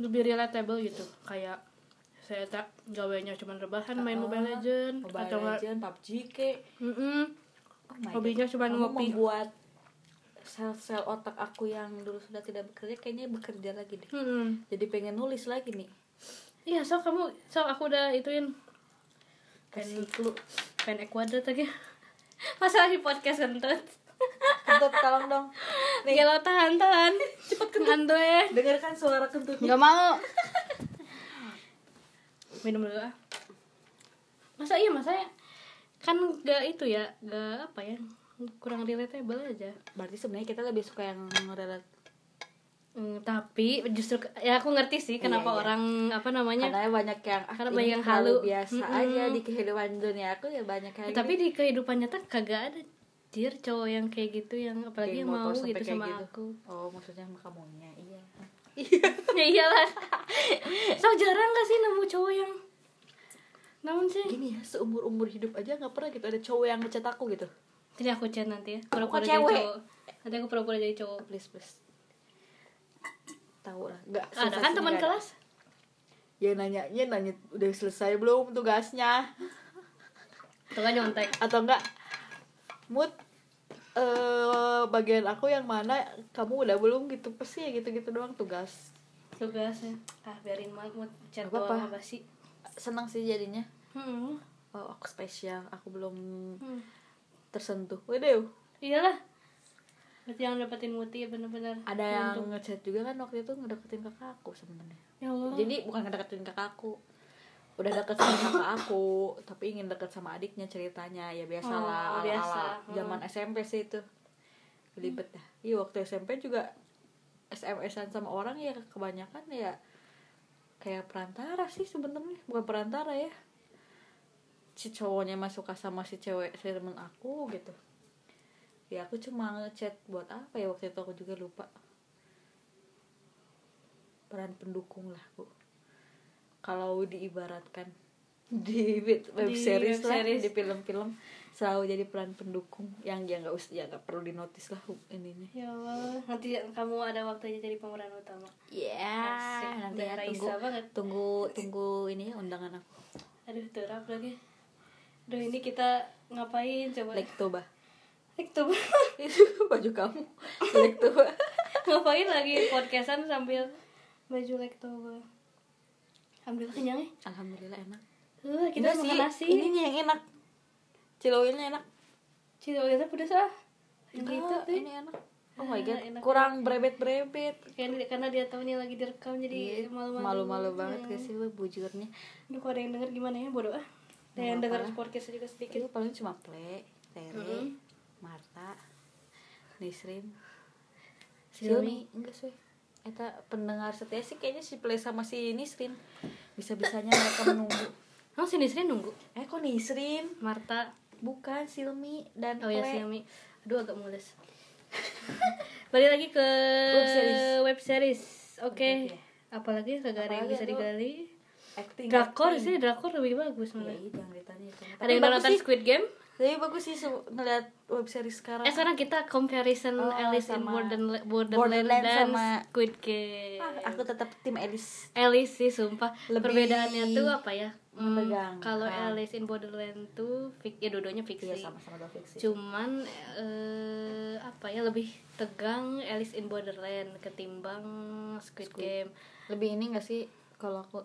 [SPEAKER 1] lebih relatable gitu kayak saya tak gawainya cuma rebahan main Mobile Legend
[SPEAKER 2] Ah, Mobile
[SPEAKER 1] Hmm, atau nggak
[SPEAKER 2] Legend, PUBG kek
[SPEAKER 1] Mm-mm.
[SPEAKER 2] Oh my
[SPEAKER 1] Hobinya
[SPEAKER 2] God.
[SPEAKER 1] cuma
[SPEAKER 2] Kamu
[SPEAKER 1] ngopi.
[SPEAKER 2] membuat sel-sel otak aku yang dulu sudah tidak bekerja kayaknya bekerja lagi deh
[SPEAKER 1] Mm-mm.
[SPEAKER 2] jadi pengen nulis lagi nih
[SPEAKER 1] iya so kamu so aku udah ituin
[SPEAKER 2] kasih clue
[SPEAKER 1] pen kuadrat lagi masalah di podcast kentut
[SPEAKER 2] kentut tolong dong nih
[SPEAKER 1] Gelo tahan tahan cepet kentut ya
[SPEAKER 2] dengarkan suara kentutnya
[SPEAKER 1] nggak mau minum dulu ah masa iya masa ya kan gak itu ya gak apa ya kurang relatable aja
[SPEAKER 2] berarti sebenarnya kita lebih suka yang relat
[SPEAKER 1] Hmm, tapi justru ke- ya aku ngerti sih kenapa
[SPEAKER 2] Iya, iya.
[SPEAKER 1] orang apa namanya
[SPEAKER 2] karena banyak yang ah,
[SPEAKER 1] Karena
[SPEAKER 2] ini
[SPEAKER 1] banyak yang
[SPEAKER 2] terlalu
[SPEAKER 1] halu.
[SPEAKER 2] biasa
[SPEAKER 1] Mm-mm.
[SPEAKER 2] aja di kehidupan dunia aku ya banyak yang
[SPEAKER 1] Ya, tapi di kehidupan nyata kagak ada jir cowok yang kayak gitu yang apalagi yang mau gitu sama aku
[SPEAKER 2] oh maksudnya sama kamunya iya
[SPEAKER 1] ya iyalah so jarang gak sih nemu cowok yang namun sih
[SPEAKER 2] gini ya seumur umur hidup aja nggak pernah gitu ada cowok yang ngecat aku gitu
[SPEAKER 1] Nanti aku chat nanti ya pura-pura
[SPEAKER 2] Aku
[SPEAKER 1] jadi
[SPEAKER 2] Oh, cewek.
[SPEAKER 1] cowok nanti aku pura-pura jadi cowok
[SPEAKER 2] please please tahu lah nggak
[SPEAKER 1] ada kan
[SPEAKER 2] sensasinya
[SPEAKER 1] teman
[SPEAKER 2] nggak ada.
[SPEAKER 1] kelas
[SPEAKER 2] ya nanya ya nanya udah selesai belum tugasnya
[SPEAKER 1] tuh kan nyontek
[SPEAKER 2] atau enggak mood eh bagian aku yang mana kamu udah belum gitu pasti ya gitu gitu doang tugas
[SPEAKER 1] tugasnya ah biarin mamut chat
[SPEAKER 2] Gak
[SPEAKER 1] doang
[SPEAKER 2] apa-apa.
[SPEAKER 1] apa sih
[SPEAKER 2] senang sih jadinya
[SPEAKER 1] hmm.
[SPEAKER 2] oh aku spesial aku belum
[SPEAKER 1] hmm.
[SPEAKER 2] tersentuh waduh
[SPEAKER 1] iyalah berarti yang dapetin muti ya bener-bener
[SPEAKER 2] ada yang
[SPEAKER 1] beruntung.
[SPEAKER 2] Iya, ngechat juga kan waktu itu ngedeketin kakak aku sebenarnya
[SPEAKER 1] ya Allah
[SPEAKER 2] Hmm. jadi bukan ngedeketin kakak aku udah deket sama kakak aku tapi ingin deket sama adiknya ceritanya ya biasalah
[SPEAKER 1] Oh,
[SPEAKER 2] ala
[SPEAKER 1] biasa.
[SPEAKER 2] ala zaman SMP sih itu ribet dah iya waktu SMP juga SMS-an sama orang ya kebanyakan ya kayak perantara sih sebenarnya bukan perantara ya si cowoknya mah suka sama si cewek si temen aku gitu ya aku cuma ngechat buat apa ya waktu itu aku juga lupa peran pendukung lah bu kalau diibaratkan di web web
[SPEAKER 1] Di
[SPEAKER 2] series
[SPEAKER 1] web
[SPEAKER 2] lah
[SPEAKER 1] series.
[SPEAKER 2] di film-film selalu jadi peran pendukung yang dia nggak usah ya nggak perlu dinotis lah ininya
[SPEAKER 1] ya Allah nanti kamu ada waktunya jadi pemeran utama
[SPEAKER 2] ya
[SPEAKER 1] Asik,
[SPEAKER 2] nanti ya
[SPEAKER 1] udah
[SPEAKER 2] tunggu
[SPEAKER 1] Raisa banget.
[SPEAKER 2] tunggu tunggu ini ya undangan aku
[SPEAKER 1] aduh terap lagi aduh ini kita ngapain coba
[SPEAKER 2] lektoba
[SPEAKER 1] Lektuba.
[SPEAKER 2] itu baju kamu lektoba
[SPEAKER 1] ngapain lagi podcastan sambil baju lektoba alhamdulillah kenyang ya
[SPEAKER 2] alhamdulillah enak
[SPEAKER 1] Eh, kita
[SPEAKER 2] Enggak
[SPEAKER 1] makan nasi
[SPEAKER 2] ininya yang enak ciloknya enak
[SPEAKER 1] Cita kita pedes lah.
[SPEAKER 2] gitu
[SPEAKER 1] Gitu.
[SPEAKER 2] ini enak oh my god
[SPEAKER 1] Ah, Enak.
[SPEAKER 2] kurang brebet brebet
[SPEAKER 1] Karena dia- karena dia tahu nih lagi direkam jadi malu-malu.
[SPEAKER 2] Iya,
[SPEAKER 1] gitu ya.
[SPEAKER 2] malu-malu banget gak sih lu bujurnya
[SPEAKER 1] Aduh, kalau ada yang denger gimana ya bodoh ah. Ada yang denger podcast juga sedikit.
[SPEAKER 2] itu paling cuma ple tere Marta Nisrin Silmi enggak sih Eta pendengar setia sih kayaknya si Ple sama si Nisrin bisa-bisanya mereka menunggu
[SPEAKER 1] Emang si Nisrin nunggu?
[SPEAKER 2] eh kok Nisrin
[SPEAKER 1] Marta.
[SPEAKER 2] bukan Silmi dan
[SPEAKER 1] Oh ya
[SPEAKER 2] Ple.
[SPEAKER 1] Xiaomi. Aduh agak mules. Balik lagi ke web
[SPEAKER 2] series.
[SPEAKER 1] series. Oke.
[SPEAKER 2] Oke.
[SPEAKER 1] Apalagi kagak ada yang
[SPEAKER 2] Apalagi
[SPEAKER 1] bisa
[SPEAKER 2] atau-
[SPEAKER 1] digali.
[SPEAKER 2] acting
[SPEAKER 1] Drakor sih, drakor lebih bagus
[SPEAKER 2] ya
[SPEAKER 1] malah.
[SPEAKER 2] iya jangan ditanya itu
[SPEAKER 1] Ada yang udah nonton Squid Game?
[SPEAKER 2] tapi bagus sih su- ngeliat web series sekarang
[SPEAKER 1] Eh sekarang kita comparison
[SPEAKER 2] Oh,
[SPEAKER 1] Alice in
[SPEAKER 2] sama
[SPEAKER 1] Borderland, Borderland,
[SPEAKER 2] Borderland
[SPEAKER 1] dan
[SPEAKER 2] sama-
[SPEAKER 1] Squid Game.
[SPEAKER 2] Ah, aku tetap tim Alice
[SPEAKER 1] Alice sih sumpah
[SPEAKER 2] Lebih
[SPEAKER 1] perbedaannya tuh apa ya? Hmm,
[SPEAKER 2] menegangkan.
[SPEAKER 1] kalau Alice in Borderland tuh fik ya dodonya fiksi.
[SPEAKER 2] iya sama-sama dua fiksi
[SPEAKER 1] Cuman eh, apa ya lebih tegang Alice in Borderland ketimbang Squid, Game.
[SPEAKER 2] lebih ini gak sih kalau aku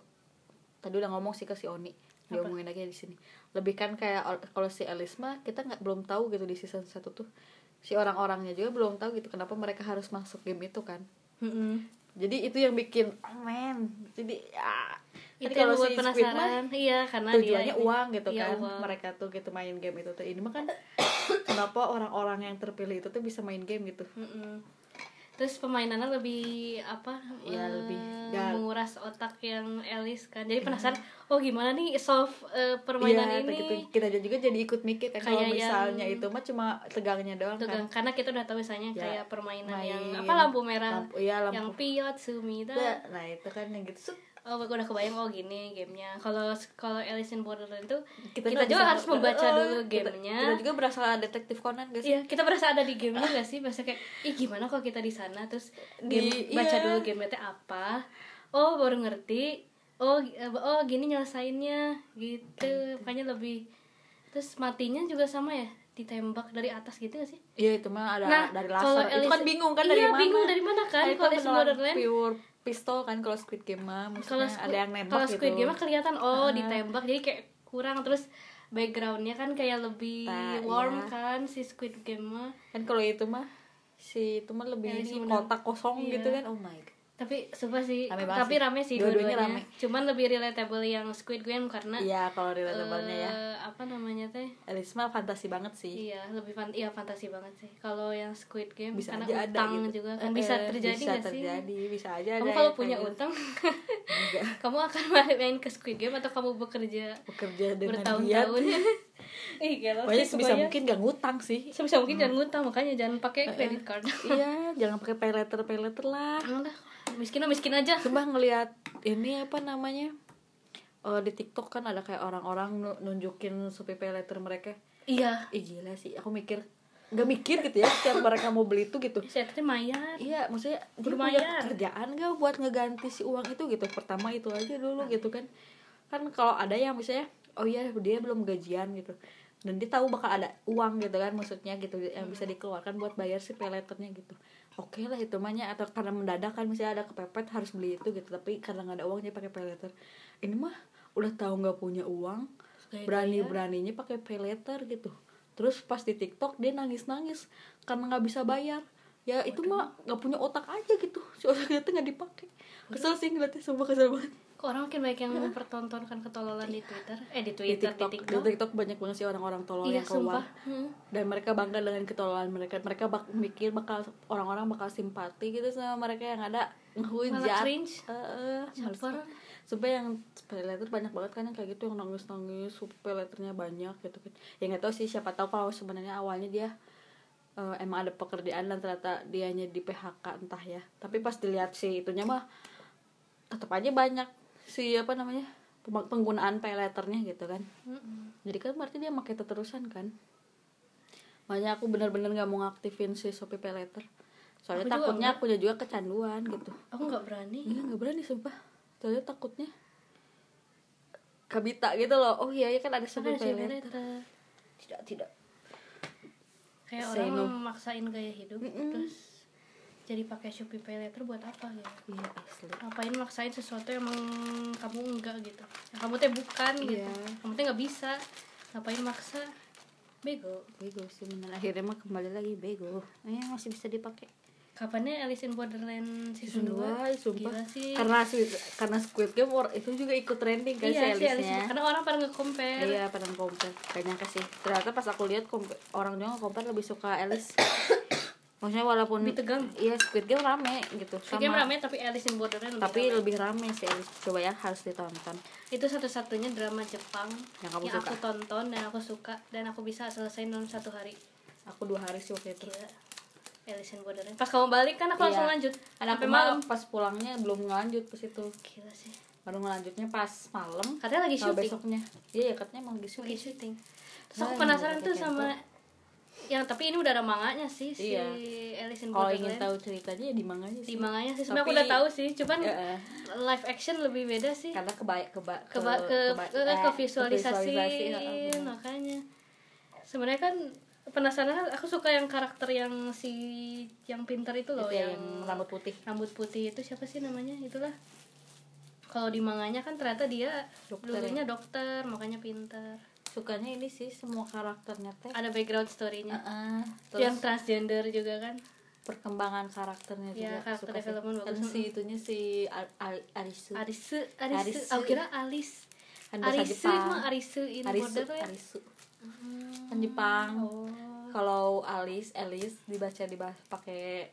[SPEAKER 2] tadi udah ngomong sih ke si Oni dia ngomongin lagi di sini lebih kan kayak or- kalau si Alice mah kita nggak belum tahu gitu di season satu tuh si orang-orangnya juga belum tahu gitu kenapa mereka harus masuk game itu kan
[SPEAKER 1] Mm-mm.
[SPEAKER 2] jadi itu yang bikin oh man jadi ya
[SPEAKER 1] Itu
[SPEAKER 2] Tadi
[SPEAKER 1] yang
[SPEAKER 2] kalau
[SPEAKER 1] buat
[SPEAKER 2] si Squid mah
[SPEAKER 1] penasaran. Iya, karena
[SPEAKER 2] tujuannya
[SPEAKER 1] dia ini-
[SPEAKER 2] uang gitu
[SPEAKER 1] Iya,
[SPEAKER 2] kan
[SPEAKER 1] uang.
[SPEAKER 2] mereka tuh gitu main game itu tuh ini mah kan kenapa orang-orang yang terpilih itu tuh bisa main game gitu
[SPEAKER 1] Mm-mm. Terus permainannya lebih apa? eh,
[SPEAKER 2] Iya, lebih Iya. dar-
[SPEAKER 1] menguras otak yang Alice kan. Jadi penasaran, oh gimana nih solve eh, permainan
[SPEAKER 2] Iya,
[SPEAKER 1] ini?
[SPEAKER 2] gitu. kita juga jadi ikut mikir kan
[SPEAKER 1] Kayak
[SPEAKER 2] kalau
[SPEAKER 1] yang-
[SPEAKER 2] misalnya itu mah cuma tegangnya doang kan
[SPEAKER 1] Tegang, Gitu karena kita udah tahu misalnya
[SPEAKER 2] Ya,
[SPEAKER 1] kayak permainan
[SPEAKER 2] main
[SPEAKER 1] yang apa lampu merah,
[SPEAKER 2] lampu, iya, lampu.
[SPEAKER 1] yang piot, sumida.
[SPEAKER 2] Nah, Nah itu kan yang gitu Set,
[SPEAKER 1] Oh, gue udah kebayang oh gini gamenya. Kalau kalau Alice in Borderland tuh kita,
[SPEAKER 2] nggak
[SPEAKER 1] juga
[SPEAKER 2] bisa-
[SPEAKER 1] harus membaca
[SPEAKER 2] Eh,
[SPEAKER 1] dulu
[SPEAKER 2] kita-
[SPEAKER 1] gamenya.
[SPEAKER 2] Kita, juga berasal detektif Conan guys.
[SPEAKER 1] Iya, kita berasa ada di gamenya gak sih? Berasa kayak, ih gimana kalau kita di sana terus game,
[SPEAKER 2] Di-
[SPEAKER 1] baca
[SPEAKER 2] iya.
[SPEAKER 1] dulu gamenya teh apa? Oh baru ngerti. Oh gi- eh, oh gini nyelesainnya gitu. Makanya lebih terus matinya juga sama ya ditembak dari atas gitu gak sih?
[SPEAKER 2] Iya itu mah ada
[SPEAKER 1] Nah,
[SPEAKER 2] dari
[SPEAKER 1] kalau
[SPEAKER 2] laser. Itu
[SPEAKER 1] Alice-
[SPEAKER 2] kan bingung kan
[SPEAKER 1] Iya,
[SPEAKER 2] dari mana?
[SPEAKER 1] bingung dari mana kan,
[SPEAKER 2] Nah, itu
[SPEAKER 1] kalau Alice in
[SPEAKER 2] beneran
[SPEAKER 1] Borderland.
[SPEAKER 2] pure pistol kan kalau Squid Game mah
[SPEAKER 1] Kalau
[SPEAKER 2] maksudnya
[SPEAKER 1] Squid-
[SPEAKER 2] ada yang nembak
[SPEAKER 1] kalau
[SPEAKER 2] gitu.
[SPEAKER 1] Squid Game mah kelihatan oh ditembak jadi kayak kurang terus backgroundnya kan kayak lebih
[SPEAKER 2] Nah,
[SPEAKER 1] warm
[SPEAKER 2] iya.
[SPEAKER 1] kan si Squid Game mah
[SPEAKER 2] Kan kalau itu mah si itu mah lebih
[SPEAKER 1] Alice in
[SPEAKER 2] ini
[SPEAKER 1] Borderland.
[SPEAKER 2] kotak kosong
[SPEAKER 1] Iya.
[SPEAKER 2] gitu kan. Oh my god.
[SPEAKER 1] tapi sumpah sih
[SPEAKER 2] Rame banget
[SPEAKER 1] tapi
[SPEAKER 2] sih.
[SPEAKER 1] rame sih
[SPEAKER 2] Dua-duanya
[SPEAKER 1] dua-duanya
[SPEAKER 2] rame.
[SPEAKER 1] cuman lebih relatable yang Squid Game karena
[SPEAKER 2] Iya, kalau relatablenya ya.
[SPEAKER 1] Nah, eh, apa namanya teh
[SPEAKER 2] Alice mah fantasi banget sih.
[SPEAKER 1] iya lebih fan iya fantasi banget sih kalau yang Squid Game
[SPEAKER 2] Bisa
[SPEAKER 1] karena
[SPEAKER 2] aja ada
[SPEAKER 1] utang
[SPEAKER 2] gitu.
[SPEAKER 1] juga kan
[SPEAKER 2] Eh,
[SPEAKER 1] bisa
[SPEAKER 2] eh,
[SPEAKER 1] terjadi
[SPEAKER 2] bisa
[SPEAKER 1] nggak sih
[SPEAKER 2] terjadi, bisa aja
[SPEAKER 1] kamu
[SPEAKER 2] ada
[SPEAKER 1] kalau
[SPEAKER 2] yang
[SPEAKER 1] punya
[SPEAKER 2] kayak gitu.
[SPEAKER 1] utang
[SPEAKER 2] Enggak.
[SPEAKER 1] kamu akan main ke Squid Game atau kamu bekerja
[SPEAKER 2] bekerja dengan giat.
[SPEAKER 1] bertahun-tahun Ih, gelo
[SPEAKER 2] Pokoknya
[SPEAKER 1] sih,
[SPEAKER 2] sebisa
[SPEAKER 1] kebayang.
[SPEAKER 2] mungkin Hmm. Eh, gak ngutang sih.
[SPEAKER 1] sebisa mungkin jangan ngutang makanya jangan pakai credit card
[SPEAKER 2] iya, jangan pakai pay letter pay letter lah.
[SPEAKER 1] Jangan lah miskin mah miskin aja
[SPEAKER 2] Coba ngelihat ini apa namanya? Eh, di TikTok kan ada kayak orang-orang nu- nunjukin supaya pay letter mereka.
[SPEAKER 1] iya
[SPEAKER 2] Ih gila sih, aku mikir nggak mikir gitu ya setiap mereka mau beli itu gitu.
[SPEAKER 1] saya tadi mayat
[SPEAKER 2] Iya, maksudnya dia punya
[SPEAKER 1] Berbayar.
[SPEAKER 2] kerjaan gak buat ngeganti si uang itu gitu. Pertama itu aja dulu gitu kan. Kan kalau ada yang misalnya oh iya dia belum gajian gitu. Dan dia tahu bakal ada uang gitu kan maksudnya gitu yang bisa dikeluarkan buat bayar si peleternya gitu. Oke lah itu mahnya atau karena mendadak kan misalnya ada kepepet harus beli itu gitu. Tapi karena nggak ada uang dia pakai peleter. Ini mah udah tahu nggak punya uang
[SPEAKER 1] Gaya-gaya.
[SPEAKER 2] berani-beraninya pakai peleter gitu. Terus pas di TikTok dia nangis-nangis karena nggak bisa bayar ya itu mah nggak punya otak aja gitu si otaknya tuh nggak dipakai kesel sih ngeliatnya sumpah kesel banget
[SPEAKER 1] kok orang makin banyak yang mempertontonkan ketololan di twitter eh di
[SPEAKER 2] di
[SPEAKER 1] twitter
[SPEAKER 2] TikTok di TikTok banyak banget sih orang-orang tolol
[SPEAKER 1] iya
[SPEAKER 2] yang keluar
[SPEAKER 1] sumpah Hmm.
[SPEAKER 2] dan mereka bangga dengan ketololan mereka mereka bak mikir bakal orang-orang bakal simpati gitu sama mereka yang ada
[SPEAKER 1] Malah
[SPEAKER 2] ngehujat
[SPEAKER 1] cringe.
[SPEAKER 2] Heeh, males
[SPEAKER 1] Caper.
[SPEAKER 2] banget. Sumpah yang peleter banyak banget kan yang kayak gitu yang nangis nangis peleternya banyak gitu kan ya nggak tahu sih siapa tahu kalau sebenarnya awalnya dia eh, emang ada pekerjaan dan ternyata dianya di PHK entah ya tapi pas dilihat sih itunya mah tetap aja banyak si apa namanya pem- penggunaan peleternya gitu kan
[SPEAKER 1] Mm-mm.
[SPEAKER 2] jadi kan berarti dia pakai terusan kan makanya aku benar-benar nggak mau ngaktifin si Shopee Pay Later
[SPEAKER 1] Aku
[SPEAKER 2] soalnya
[SPEAKER 1] juga
[SPEAKER 2] takutnya aku juga kecanduan gitu
[SPEAKER 1] aku nggak berani
[SPEAKER 2] iya nggak berani sumpah soalnya takutnya kabita gitu loh oh iya, iya kan ada
[SPEAKER 1] Kan ada
[SPEAKER 2] Shopee
[SPEAKER 1] si
[SPEAKER 2] Pay Later
[SPEAKER 1] Violeta.
[SPEAKER 2] tidak tidak
[SPEAKER 1] kayak
[SPEAKER 2] Say
[SPEAKER 1] orang
[SPEAKER 2] no.
[SPEAKER 1] memaksain gaya hidup
[SPEAKER 2] Mm-mm.
[SPEAKER 1] terus jadi pakai shopee pay later buat apa gitu
[SPEAKER 2] iya asli
[SPEAKER 1] ngapain maksain sesuatu yang emang kamu enggak gitu yang kamu teh bukan gitu
[SPEAKER 2] Iya.
[SPEAKER 1] kamu teh nggak bisa ngapain maksa bego
[SPEAKER 3] bego sih bener akhirnya mah kembali lagi bego
[SPEAKER 2] Iya,
[SPEAKER 3] eh masih bisa dipakai
[SPEAKER 1] kapannya Alice in Borderland season
[SPEAKER 2] season
[SPEAKER 1] 2
[SPEAKER 2] 2 sumpah
[SPEAKER 1] gila sih
[SPEAKER 2] karena Squid karena Squid Game or- itu juga ikut trending kan
[SPEAKER 1] iya
[SPEAKER 2] si
[SPEAKER 1] sih Alice in-
[SPEAKER 2] Alice-nya
[SPEAKER 1] karena orang pada nge-compare
[SPEAKER 2] iya pada compare gak nyangka sih ternyata pas aku lihat kompe- orang juga compare lebih suka Alice maksudnya walaupun
[SPEAKER 1] Lebih tegang.
[SPEAKER 2] iya Squid Game rame gitu
[SPEAKER 1] Squid Game rame tapi Alice in Borderland
[SPEAKER 2] tapi
[SPEAKER 1] rame.
[SPEAKER 2] lebih rame sih Alice coba ya harus ditonton
[SPEAKER 1] itu satu-satunya drama Jepang
[SPEAKER 2] Yang kamu suka.
[SPEAKER 1] aku tonton dan aku suka dan aku bisa selesai dalam satu hari
[SPEAKER 2] aku dua hari sih waktu itu
[SPEAKER 1] gila Alice in Borderland pas kamu balik kan aku langsung
[SPEAKER 2] Iya.
[SPEAKER 1] lanjut
[SPEAKER 2] ada
[SPEAKER 1] sampai malam
[SPEAKER 2] pas pulangnya belum ngelanjut pas itu
[SPEAKER 1] gila sih
[SPEAKER 2] baru ngelanjutnya pas malam
[SPEAKER 1] katanya lagi
[SPEAKER 2] kalau
[SPEAKER 1] syuting
[SPEAKER 2] besoknya iya ya katanya emang di
[SPEAKER 1] lagi
[SPEAKER 2] syuting
[SPEAKER 1] syuting terus
[SPEAKER 2] Nah,
[SPEAKER 1] aku
[SPEAKER 2] yang
[SPEAKER 1] penasaran
[SPEAKER 2] udah
[SPEAKER 1] tuh
[SPEAKER 2] kepo.
[SPEAKER 1] sama yang tapi ini udah ada manganya sih si
[SPEAKER 2] Iya.
[SPEAKER 1] Alice in
[SPEAKER 2] kalau ingin
[SPEAKER 1] Borderland
[SPEAKER 2] tahu ceritanya ya di manganya
[SPEAKER 1] di
[SPEAKER 2] sih
[SPEAKER 1] manganya sih sebenarnya aku
[SPEAKER 2] Tapi-
[SPEAKER 1] udah tahu sih cuman
[SPEAKER 2] Ya, eh.
[SPEAKER 1] live action lebih beda sih
[SPEAKER 2] karena kebaik keba
[SPEAKER 1] ke ke ke,
[SPEAKER 2] keba-
[SPEAKER 1] ke,
[SPEAKER 2] eh,
[SPEAKER 1] visualisasi iya,
[SPEAKER 2] visualisasi, heeh, bener.
[SPEAKER 1] makanya sebenarnya kan penasaran aku suka yang karakter yang si Gitu yang pinter itu loh
[SPEAKER 2] Itu ya, yang rambut putih
[SPEAKER 1] rambut putih itu siapa sih namanya itulah kalau di manganya kan ternyata dia
[SPEAKER 2] Dokter ya?
[SPEAKER 1] dulunya dokter makanya pinter
[SPEAKER 2] sukanya ini sih semua karakternya teh
[SPEAKER 1] ada background story-nya
[SPEAKER 2] Eh. Heeh. terus
[SPEAKER 1] yang transgender juga kan
[SPEAKER 2] perkembangan karakternya
[SPEAKER 1] Iya,
[SPEAKER 2] juga
[SPEAKER 1] karakter
[SPEAKER 2] suka sih.
[SPEAKER 1] development
[SPEAKER 2] kan
[SPEAKER 1] bagus.
[SPEAKER 2] si itunya si Ar- Ar- Arisu
[SPEAKER 1] Arisu Arisu
[SPEAKER 2] Arisu.
[SPEAKER 1] aku kira Alis
[SPEAKER 2] kan bahasa
[SPEAKER 1] Arisu
[SPEAKER 2] Jepang
[SPEAKER 1] itu mah Arisu in
[SPEAKER 2] Arisu
[SPEAKER 1] borderland.
[SPEAKER 2] Arisu kan Jepang
[SPEAKER 1] oh
[SPEAKER 2] kalau Alice Alice dibaca dibahas pakai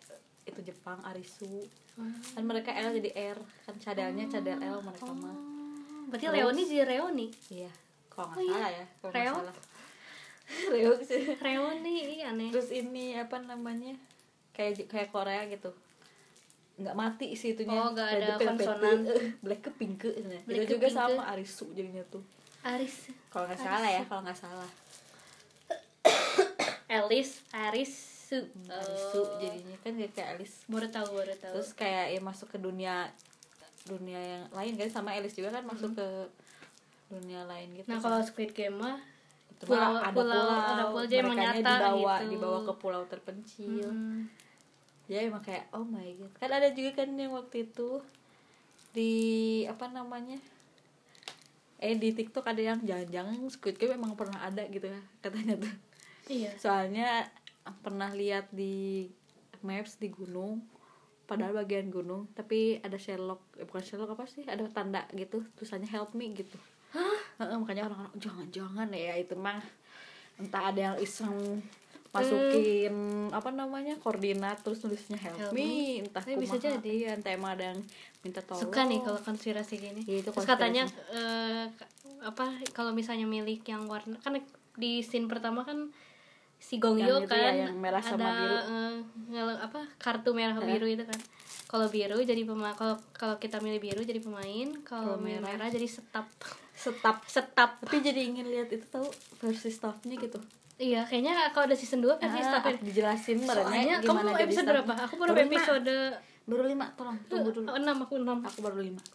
[SPEAKER 2] itu Jepang Arisu
[SPEAKER 1] Hmm.
[SPEAKER 2] kan mereka L jadi R kan cadangnya cadel L mereka
[SPEAKER 1] Oh,
[SPEAKER 2] mah
[SPEAKER 1] berarti Leoni jadi Reoni
[SPEAKER 2] iya kalau nggak
[SPEAKER 1] Oh, iya.
[SPEAKER 2] salah ya kalau nggak
[SPEAKER 1] Reok.
[SPEAKER 2] salah Reok sih
[SPEAKER 1] Reoni iya aneh
[SPEAKER 2] terus ini apa namanya kayak kayak Korea gitu nggak mati sih itunya
[SPEAKER 1] Oh, nggak ada konsonan.
[SPEAKER 2] eh, black ke pink
[SPEAKER 1] Black ke
[SPEAKER 2] itu juga
[SPEAKER 1] pink.
[SPEAKER 2] sama Arisu jadinya tuh
[SPEAKER 1] Aris
[SPEAKER 2] kalau nggak salah ya kalau nggak salah
[SPEAKER 1] Alice Arisu
[SPEAKER 2] Hmm, Arisu
[SPEAKER 1] Oh.
[SPEAKER 2] jadinya kan kayak kayak Alice
[SPEAKER 1] baru tahu baru tahu
[SPEAKER 2] terus kayak ya masuk ke dunia dunia yang lain kan sama Alice juga kan masuk ke dunia lain gitu
[SPEAKER 1] Hmm. nah
[SPEAKER 2] kan.
[SPEAKER 1] kalau Squid Game mah
[SPEAKER 2] Itu mah
[SPEAKER 1] pulau-
[SPEAKER 2] ada
[SPEAKER 1] pulau-
[SPEAKER 2] pulau,
[SPEAKER 1] ada pulau aja yang
[SPEAKER 2] merekanya
[SPEAKER 1] menyata
[SPEAKER 2] dibawa
[SPEAKER 1] gitu.
[SPEAKER 2] dibawa ke pulau terpencil
[SPEAKER 1] hmm,
[SPEAKER 2] ya emang kayak oh my god kan ada juga kan yang waktu itu di apa namanya eh di TikTok ada yang jangan-jangan Squid Game emang pernah ada gitu ya katanya tuh
[SPEAKER 1] iya
[SPEAKER 2] soalnya pernah lihat di maps di gunung padahal bagian gunung tapi ada Sherlock eh, bukan Sherlock apa sih ada tanda gitu tulisannya help me gitu Heeh, makanya orang-orang jangan-jangan ya itu mah entah ada yang iseng masukin apa namanya koordinat terus tulisnya help,
[SPEAKER 1] Help
[SPEAKER 2] me. entah
[SPEAKER 1] Tapi bisa
[SPEAKER 2] kumaha.
[SPEAKER 1] jadi.
[SPEAKER 2] Iya, entah emang ada yang minta tolong
[SPEAKER 1] suka nih kalau konspirasi gini
[SPEAKER 2] Iya, itu
[SPEAKER 1] terus katanya eh, ka- apa kalau misalnya milik yang warna kan di scene pertama kan si Gongyo
[SPEAKER 2] Yang itu
[SPEAKER 1] kan
[SPEAKER 2] ya, yang merah
[SPEAKER 1] ada
[SPEAKER 2] sama biru.
[SPEAKER 1] eh, ngel- apa kartu merah biru itu kan kalau biru jadi pemain kalau kalau kita milih biru jadi pemain kalau
[SPEAKER 2] Kalau merah.
[SPEAKER 1] merah jadi setap
[SPEAKER 2] setap
[SPEAKER 1] setap
[SPEAKER 2] tapi jadi ingin lihat itu tahu versi staffnya gitu
[SPEAKER 1] iya kayaknya kalau ada season 2 versi
[SPEAKER 2] Ah, ya,
[SPEAKER 1] setapnya
[SPEAKER 2] dijelasin
[SPEAKER 1] Kan ya. soalnya
[SPEAKER 2] merenya
[SPEAKER 1] kamu
[SPEAKER 2] jadi
[SPEAKER 1] episode
[SPEAKER 2] staff.
[SPEAKER 1] berapa aku baru
[SPEAKER 2] Baru lima.
[SPEAKER 1] episode eh,
[SPEAKER 2] baru lima tolong tunggu dulu
[SPEAKER 1] enam aku enam
[SPEAKER 2] aku baru lima Iya,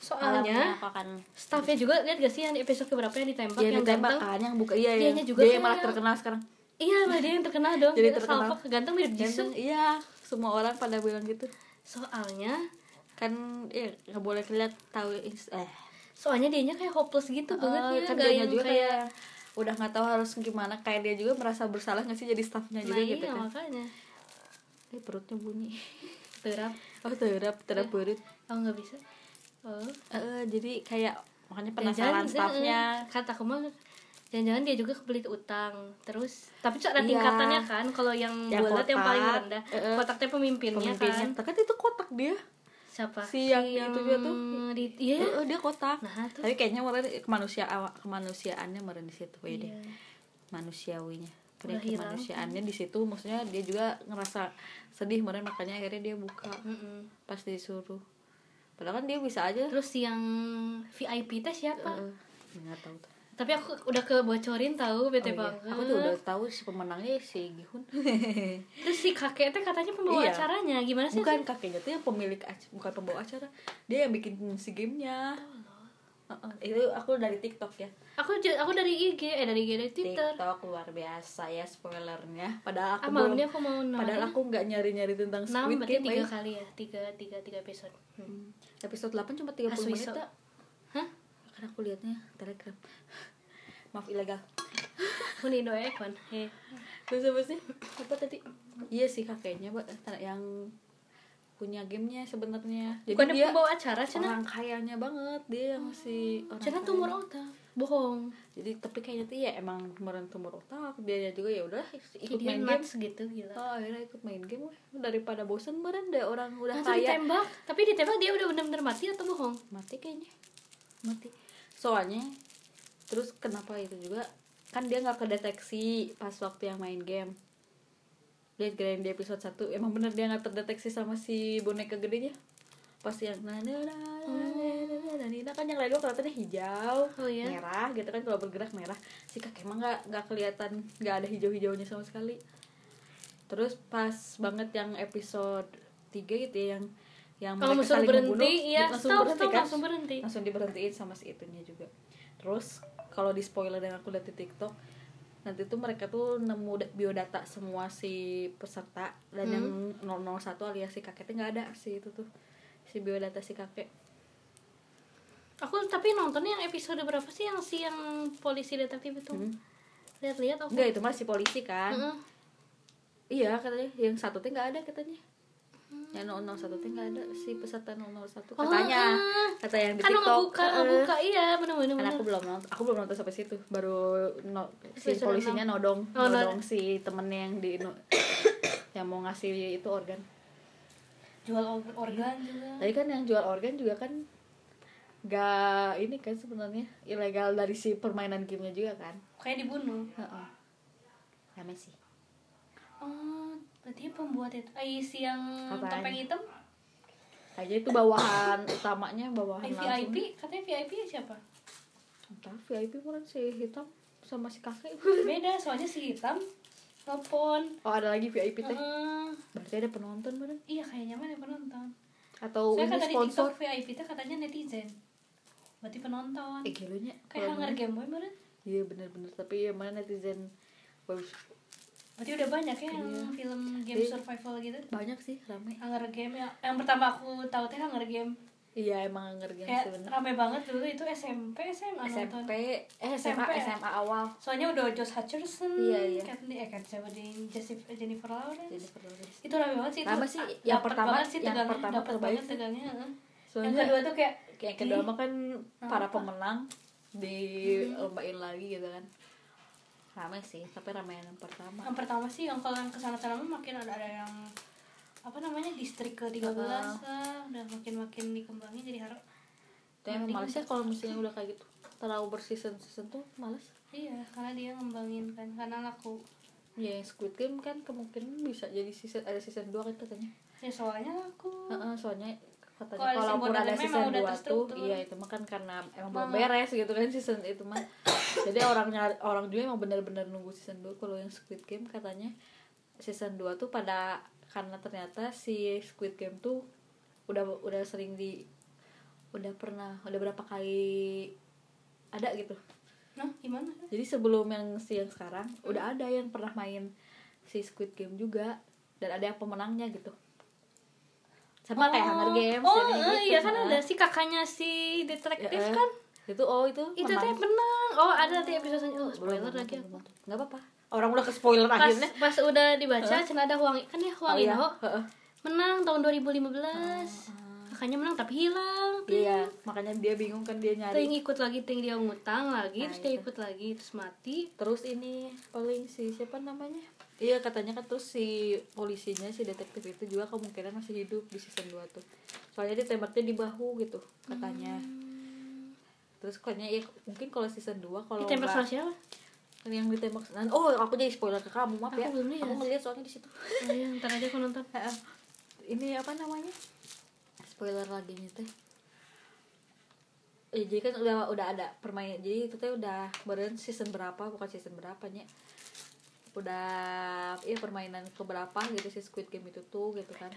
[SPEAKER 1] soalnya
[SPEAKER 2] aku akan
[SPEAKER 1] staffnya juga lihat gak sih yang episode keberapa yang ditembak
[SPEAKER 2] dia
[SPEAKER 1] yang
[SPEAKER 2] ditembak
[SPEAKER 1] ganteng
[SPEAKER 2] kan yang buka iya
[SPEAKER 1] Dianya
[SPEAKER 2] iya
[SPEAKER 1] juga
[SPEAKER 2] dia yang
[SPEAKER 1] kan
[SPEAKER 2] malah
[SPEAKER 1] yang-
[SPEAKER 2] terkenal sekarang
[SPEAKER 1] Iya, malah dia yang terkenal dong.
[SPEAKER 2] Jadi
[SPEAKER 1] Dia
[SPEAKER 2] terkenal.
[SPEAKER 1] Salpak ganteng mirip Jisoo.
[SPEAKER 2] Ganteng, iya semua orang pada bilang gitu
[SPEAKER 1] Soalnya
[SPEAKER 2] kan ya nggak boleh lihat tahu ins- eh
[SPEAKER 1] soalnya dianya kayak hopeless gitu banget
[SPEAKER 2] eh,
[SPEAKER 1] ya,
[SPEAKER 2] kan
[SPEAKER 1] nggak
[SPEAKER 2] dianya
[SPEAKER 1] yang
[SPEAKER 2] juga
[SPEAKER 1] kayak
[SPEAKER 2] kayak udah nggak tahu harus gimana kayak dia juga merasa bersalah nggak sih jadi staffnya
[SPEAKER 1] nah
[SPEAKER 2] juga gitu
[SPEAKER 1] iya,
[SPEAKER 2] kan
[SPEAKER 1] makanya.
[SPEAKER 2] eh perutnya bunyi
[SPEAKER 1] Terap,
[SPEAKER 2] oh terap terap perut
[SPEAKER 1] oh nggak bisa. Oh.
[SPEAKER 2] Eh, eh, jadi kayak makanya
[SPEAKER 1] Jangan-jangan,
[SPEAKER 2] penasaran staffnya
[SPEAKER 1] eh, kata aku mah jangan-jangan dia juga kebelit utang terus tapi tuh ada
[SPEAKER 2] Iya.
[SPEAKER 1] tingkatannya kan kalau yang,
[SPEAKER 2] Yang
[SPEAKER 1] bulat yang paling
[SPEAKER 2] kotak,
[SPEAKER 1] rendah
[SPEAKER 2] eh, eh.
[SPEAKER 1] kotaknya pemimpinnya,
[SPEAKER 2] pemimpinnya
[SPEAKER 1] kan
[SPEAKER 2] kan itu kotak dia
[SPEAKER 1] siapa
[SPEAKER 2] Si yang itu juga tuh.
[SPEAKER 1] di- iya
[SPEAKER 2] Eh, eh, dia kotak
[SPEAKER 1] nah tuh
[SPEAKER 2] tapi kayaknya meren kemanusia kemanusiaannya meren di situ wede
[SPEAKER 1] Iya.
[SPEAKER 2] manusiawinya
[SPEAKER 1] Udah
[SPEAKER 2] Padahal
[SPEAKER 1] hilang.
[SPEAKER 2] kemanusiaannya di situ maksudnya dia juga ngerasa sedih meren makanya akhirnya dia buka
[SPEAKER 1] Mm-mm.
[SPEAKER 2] pas disuruh padahal kan dia bisa aja
[SPEAKER 1] terus yang VIP teh siapa
[SPEAKER 2] Eh, nggak tahu tuh
[SPEAKER 1] tapi aku udah kebocorin tahu
[SPEAKER 2] Oh
[SPEAKER 1] bete
[SPEAKER 2] iya,
[SPEAKER 1] banget
[SPEAKER 2] aku tuh udah tahu si pemenangnya si Gihun
[SPEAKER 1] terus si kakek teh katanya pembawa
[SPEAKER 2] Iya.
[SPEAKER 1] acaranya gimana sih
[SPEAKER 2] bukan kakeknya tuh yang pemilik ac- bukan pembawa acara dia yang bikin si gamenya Eh, eh, itu aku dari TikTok ya
[SPEAKER 1] aku ju- aku dari IG eh dari IG dari Twitter
[SPEAKER 2] TikTok luar biasa ya spoilernya.
[SPEAKER 1] ah
[SPEAKER 2] Padahal aku
[SPEAKER 1] malam
[SPEAKER 2] belum-
[SPEAKER 1] ini aku mau nonton
[SPEAKER 2] padahal aku nggak nyari-nyari tentang
[SPEAKER 1] enam
[SPEAKER 2] Squid
[SPEAKER 1] berarti
[SPEAKER 2] Game.
[SPEAKER 1] tiga
[SPEAKER 2] eh.
[SPEAKER 1] kali ya tiga tiga tiga episode hmm.
[SPEAKER 2] Episode 8 cuma 30 menit.
[SPEAKER 1] Asuiso.
[SPEAKER 2] tak?
[SPEAKER 1] hah
[SPEAKER 2] Karena aku liatnya Telegram. Maaf ilegal.
[SPEAKER 1] Unido Ekon. Heh.
[SPEAKER 2] terus apa sih apa tadi iya sih kakeknya buat yang punya gamenya sebenarnya jadi
[SPEAKER 1] Bukan dia
[SPEAKER 2] dia
[SPEAKER 1] pembawa acara cenah.
[SPEAKER 2] orang kayanya banget dia yang masih orang
[SPEAKER 1] Cenah
[SPEAKER 2] kaya.
[SPEAKER 1] tumor otak. Bohong.
[SPEAKER 2] jadi tapi kayaknya tuh ya emang kemarin tumor otak dia juga ya udah ikut
[SPEAKER 1] Jadi
[SPEAKER 2] main game
[SPEAKER 1] mats gitu gila.
[SPEAKER 2] oh, akhirnya ikut main game weh. daripada bosan meren deh orang udah
[SPEAKER 1] Langsung
[SPEAKER 2] kaya
[SPEAKER 1] ditembak, tapi ditembak dia udah benar-benar mati atau bohong?
[SPEAKER 2] mati kayaknya mati soalnya terus kenapa itu juga kan dia nggak kedeteksi pas waktu yang main game lihat keren di episode 1 emang bener dia nggak terdeteksi sama si boneka gedenya pas yang nah nah nah nah, nah, nah, nah, nah, kan yang lain dua kelihatannya hijau
[SPEAKER 1] Oh iya.
[SPEAKER 2] merah gitu kan kalau bergerak merah si kakek mah nggak nggak kelihatan nggak ada hijau hijaunya sama sekali terus pas banget yang episode 3 gitu ya yang yang
[SPEAKER 1] Kalau
[SPEAKER 2] mereka
[SPEAKER 1] musuh
[SPEAKER 2] saling
[SPEAKER 1] berhenti,
[SPEAKER 2] membunuh,
[SPEAKER 1] iya
[SPEAKER 2] langsung
[SPEAKER 1] stop,
[SPEAKER 2] berhenti
[SPEAKER 1] stop,
[SPEAKER 2] kan?
[SPEAKER 1] langsung berhenti.
[SPEAKER 2] langsung diberhentiin sama si itunya juga terus kalau di spoiler yang aku lihat di TikTok nanti tuh mereka tuh nemu da- biodata semua si peserta dan yang
[SPEAKER 1] Hmm.
[SPEAKER 2] 001 alias si kakeknya nggak ada si itu tuh si biodata si kakek
[SPEAKER 1] Aku tapi nontonnya yang episode berapa sih yang si yang polisi detektif itu?
[SPEAKER 2] Hmm.
[SPEAKER 1] Lihat-lihat aku. Hmm,
[SPEAKER 2] enggak itu mah si polisi kan
[SPEAKER 1] Mm-mm.
[SPEAKER 2] iya katanya yang satu tuh nggak ada katanya yang 001 tuh nggak ada si peserta 001
[SPEAKER 1] Oh,
[SPEAKER 2] katanya
[SPEAKER 1] ah.
[SPEAKER 2] kata yang di
[SPEAKER 1] Kan
[SPEAKER 2] TikTok
[SPEAKER 1] ngebuka,
[SPEAKER 2] eh.
[SPEAKER 1] ngebuka iya benar-benar.
[SPEAKER 2] Karena aku belum nonton, aku belum nonton sampai situ. Baru no- si
[SPEAKER 1] Episode
[SPEAKER 2] polisinya nodong,
[SPEAKER 1] Oh, nodong.
[SPEAKER 2] nodong si temennya yang di no- yang mau ngasih itu organ.
[SPEAKER 1] jual organ juga.
[SPEAKER 2] Tadi kan yang jual organ juga kan gak ini kan sebenarnya ilegal dari si permainan gamenya juga kan.
[SPEAKER 1] Kayak dibunuh.
[SPEAKER 2] Heeh. Rame sih.
[SPEAKER 1] Oh, berarti pembuat itu eh, si yang
[SPEAKER 2] Apaan?
[SPEAKER 1] topeng hitam
[SPEAKER 2] Kayaknya itu bawahan utamanya bawahan
[SPEAKER 1] eh,
[SPEAKER 2] Oh, langsung.
[SPEAKER 1] VIP katanya VIP ya siapa?
[SPEAKER 2] Entah VIP murah si hitam sama si kakek.
[SPEAKER 1] Beda, soalnya si hitam telepon.
[SPEAKER 2] Oh ada lagi VIP teh.
[SPEAKER 1] Eh,
[SPEAKER 2] Berarti ada penonton bener
[SPEAKER 1] iya kayaknya mana yang penonton.
[SPEAKER 2] atau
[SPEAKER 1] Saya
[SPEAKER 2] Oh, ini
[SPEAKER 1] kata di
[SPEAKER 2] sponsor.
[SPEAKER 1] TikTok VIP itu katanya netizen. Berarti penonton.
[SPEAKER 2] Eh gilanya.
[SPEAKER 1] kan. Kayak
[SPEAKER 2] kalau
[SPEAKER 1] Hunger Game Boy meren.
[SPEAKER 2] Iya bener-bener tapi ya mana netizen bagus
[SPEAKER 1] Berarti udah banyak ya yang
[SPEAKER 2] Iya.
[SPEAKER 1] film game
[SPEAKER 2] Iya.
[SPEAKER 1] survival gitu.
[SPEAKER 2] banyak sih rame.
[SPEAKER 1] Hunger Game yang, yang pertama aku tahu teh Hunger Game.
[SPEAKER 2] Iya emang ngerjain
[SPEAKER 1] Kayak
[SPEAKER 2] sebenarnya.
[SPEAKER 1] rame banget dulu itu SMP SMA
[SPEAKER 2] SMP
[SPEAKER 1] nonton.
[SPEAKER 2] eh SMA
[SPEAKER 1] SMP.
[SPEAKER 2] SMA awal
[SPEAKER 1] Soalnya udah Josh Hutcherson,
[SPEAKER 2] Iya, iya.
[SPEAKER 1] Katni, eh Kat Sabadin, Jesse- eh, Jennifer Lawrence.
[SPEAKER 2] jadi Lawrence.
[SPEAKER 1] itu rame banget sih itu
[SPEAKER 2] Rame sih,
[SPEAKER 1] a-
[SPEAKER 2] yang
[SPEAKER 1] dapet
[SPEAKER 2] pertama-
[SPEAKER 1] banget sih
[SPEAKER 2] yang
[SPEAKER 1] tegangnya,
[SPEAKER 2] pertama
[SPEAKER 1] dapet
[SPEAKER 2] terbaik
[SPEAKER 1] banget
[SPEAKER 2] sih.
[SPEAKER 1] tegangnya heeh. yang
[SPEAKER 2] Soalnya
[SPEAKER 1] kedua tuh kayak
[SPEAKER 2] kayak kedua
[SPEAKER 1] ih,
[SPEAKER 2] mah kan para pemenang
[SPEAKER 1] Mm-hmm.
[SPEAKER 2] dilombain lagi gitu kan. Rame sih, tapi rame yang pertama.
[SPEAKER 1] yang pertama sih yang kalau yang kesana sana makin ada ada yang apa namanya distrik ke 13
[SPEAKER 2] Heeh.
[SPEAKER 1] lah udah makin makin dikembangin jadi harap
[SPEAKER 2] Itu yang
[SPEAKER 1] mending.
[SPEAKER 2] males ya kalau misalnya udah kayak gitu. Terlalu berseason-season tuh males.
[SPEAKER 1] iya karena dia ngembangin kan karena laku
[SPEAKER 2] Ya yang Squid Game kan kemungkinan bisa jadi season ada season 2 kan katanya.
[SPEAKER 1] ya soalnya laku
[SPEAKER 2] Heeh, soalnya katanya
[SPEAKER 1] Kalau season
[SPEAKER 2] kalau pun
[SPEAKER 1] dua
[SPEAKER 2] ada
[SPEAKER 1] dan
[SPEAKER 2] season
[SPEAKER 1] memang udah
[SPEAKER 2] 2 tuh
[SPEAKER 1] terstruktur.
[SPEAKER 2] iya itu mah kan karena emang belum
[SPEAKER 1] Banget.
[SPEAKER 2] beres gitu kan season itu mah jadi orang nyari- orang juga emang benar-benar nunggu season 2 kalau yang Squid Game katanya season 2 tuh pada karena ternyata si Squid Game tuh udah udah sering di udah pernah udah berapa kali ada gitu
[SPEAKER 1] nah gimana
[SPEAKER 2] jadi sebelum yang si yang sekarang udah ada yang pernah main si Squid Game juga dan ada yang pemenangnya gitu sama kayak Hunger Games
[SPEAKER 1] oh
[SPEAKER 2] jadi
[SPEAKER 1] eh,
[SPEAKER 2] gitu,
[SPEAKER 1] iya kan
[SPEAKER 2] nah.
[SPEAKER 1] ada si kakaknya si detektif
[SPEAKER 2] Ya, eh.
[SPEAKER 1] kan
[SPEAKER 2] itu oh itu
[SPEAKER 1] itu
[SPEAKER 2] menang.
[SPEAKER 1] teh menang oh ada teh episode oh, spoiler
[SPEAKER 2] Belum,
[SPEAKER 1] lagi
[SPEAKER 2] belum,
[SPEAKER 1] aku
[SPEAKER 2] belum. nggak apa-apa orang udah ke spoiler
[SPEAKER 1] pas
[SPEAKER 2] akhirnya
[SPEAKER 1] pas udah dibaca cina ada Huang kan ya Huang
[SPEAKER 2] Oh, iya.
[SPEAKER 1] Inho
[SPEAKER 2] Heeh.
[SPEAKER 1] menang tahun 2015 kakaknya menang tapi hilang
[SPEAKER 2] oh. iya makanya dia bingung kan dia
[SPEAKER 1] ting
[SPEAKER 2] nyari
[SPEAKER 1] ikut lagi ting dia ngutang lagi
[SPEAKER 2] Nah,
[SPEAKER 1] terus dia
[SPEAKER 2] itu.
[SPEAKER 1] ikut lagi terus mati
[SPEAKER 2] terus ini paling si siapa namanya iya katanya kan terus si polisinya si detektif itu juga kemungkinan masih hidup di season 2 tuh soalnya ditembaknya di bahu gitu katanya terus katanya ya mungkin kalau season 2 kalau
[SPEAKER 1] Hmm. ditembak sama
[SPEAKER 2] nggak-
[SPEAKER 1] siapa
[SPEAKER 2] yang ditembak nah, oh aku jadi spoiler ke kamu maaf
[SPEAKER 1] Aku
[SPEAKER 2] ya
[SPEAKER 1] belum lihat.
[SPEAKER 2] aku ngeliat soalnya di situ
[SPEAKER 1] oh, iya, ntar aja aku nonton
[SPEAKER 2] Heeh. Eh, ini apa namanya spoiler lagi nih teh ya, jadi kan udah udah ada permainan jadi itu teh udah kemarin season berapa bukan season berapanya udah ya permainan keberapa gitu si Squid Game itu tuh gitu kan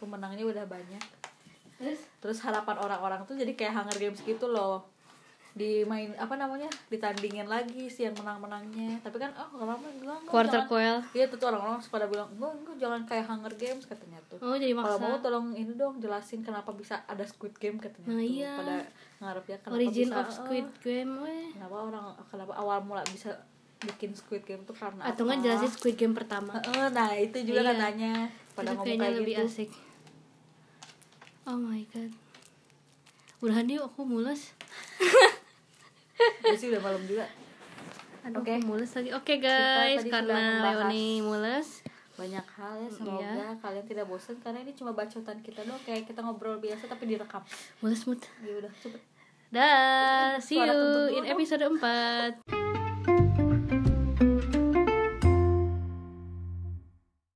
[SPEAKER 2] pemenangnya udah banyak
[SPEAKER 1] terus
[SPEAKER 2] terus harapan orang-orang tuh jadi kayak Hunger Games gitu loh dimain apa namanya ditandingin lagi si yang menang-menangnya tapi kan oh orang bilang "Enggak,
[SPEAKER 1] Quarter
[SPEAKER 2] jangan."
[SPEAKER 1] Coil.
[SPEAKER 2] iya tuh tuh orang-orang pada bilang enggak enggak jangan kayak Hunger Games katanya tuh
[SPEAKER 1] oh jadi
[SPEAKER 2] kalau mau
[SPEAKER 1] maksa
[SPEAKER 2] tolong ini dong jelasin kenapa bisa ada Squid Game katanya
[SPEAKER 1] Nah,
[SPEAKER 2] tuh
[SPEAKER 1] iya.
[SPEAKER 2] pada ngarepnya kenapa
[SPEAKER 1] origin
[SPEAKER 2] bisa,
[SPEAKER 1] of Squid
[SPEAKER 2] eh,
[SPEAKER 1] Game weh
[SPEAKER 2] kenapa orang kenapa awal mula bisa bikin Squid Game tuh karena
[SPEAKER 1] atau nggak jelasin Squid Game pertama
[SPEAKER 2] Heeh, nah itu juga
[SPEAKER 1] Iya.
[SPEAKER 2] katanya
[SPEAKER 1] itu
[SPEAKER 2] pada ngomong
[SPEAKER 1] kayaknya
[SPEAKER 2] kayak
[SPEAKER 1] lebih
[SPEAKER 2] gitu
[SPEAKER 1] asik oh my god udahan yuk aku mules
[SPEAKER 2] Jadi sih udah malam juga
[SPEAKER 1] aduh
[SPEAKER 2] Oke.
[SPEAKER 1] aku mules lagi oke
[SPEAKER 2] Kita
[SPEAKER 1] guys
[SPEAKER 2] tadi
[SPEAKER 1] karena
[SPEAKER 2] sudah membahas.
[SPEAKER 1] Leoni mules
[SPEAKER 2] banyak hal ya semoga
[SPEAKER 1] Iya.
[SPEAKER 2] kalian tidak bosan karena ini cuma bacotan kita doang kayak kita ngobrol biasa tapi direkam
[SPEAKER 1] mules mood
[SPEAKER 2] ya udah cepet
[SPEAKER 1] dah see
[SPEAKER 2] Suara kentut
[SPEAKER 1] you
[SPEAKER 2] dulu
[SPEAKER 1] in
[SPEAKER 2] dong.
[SPEAKER 1] episode 4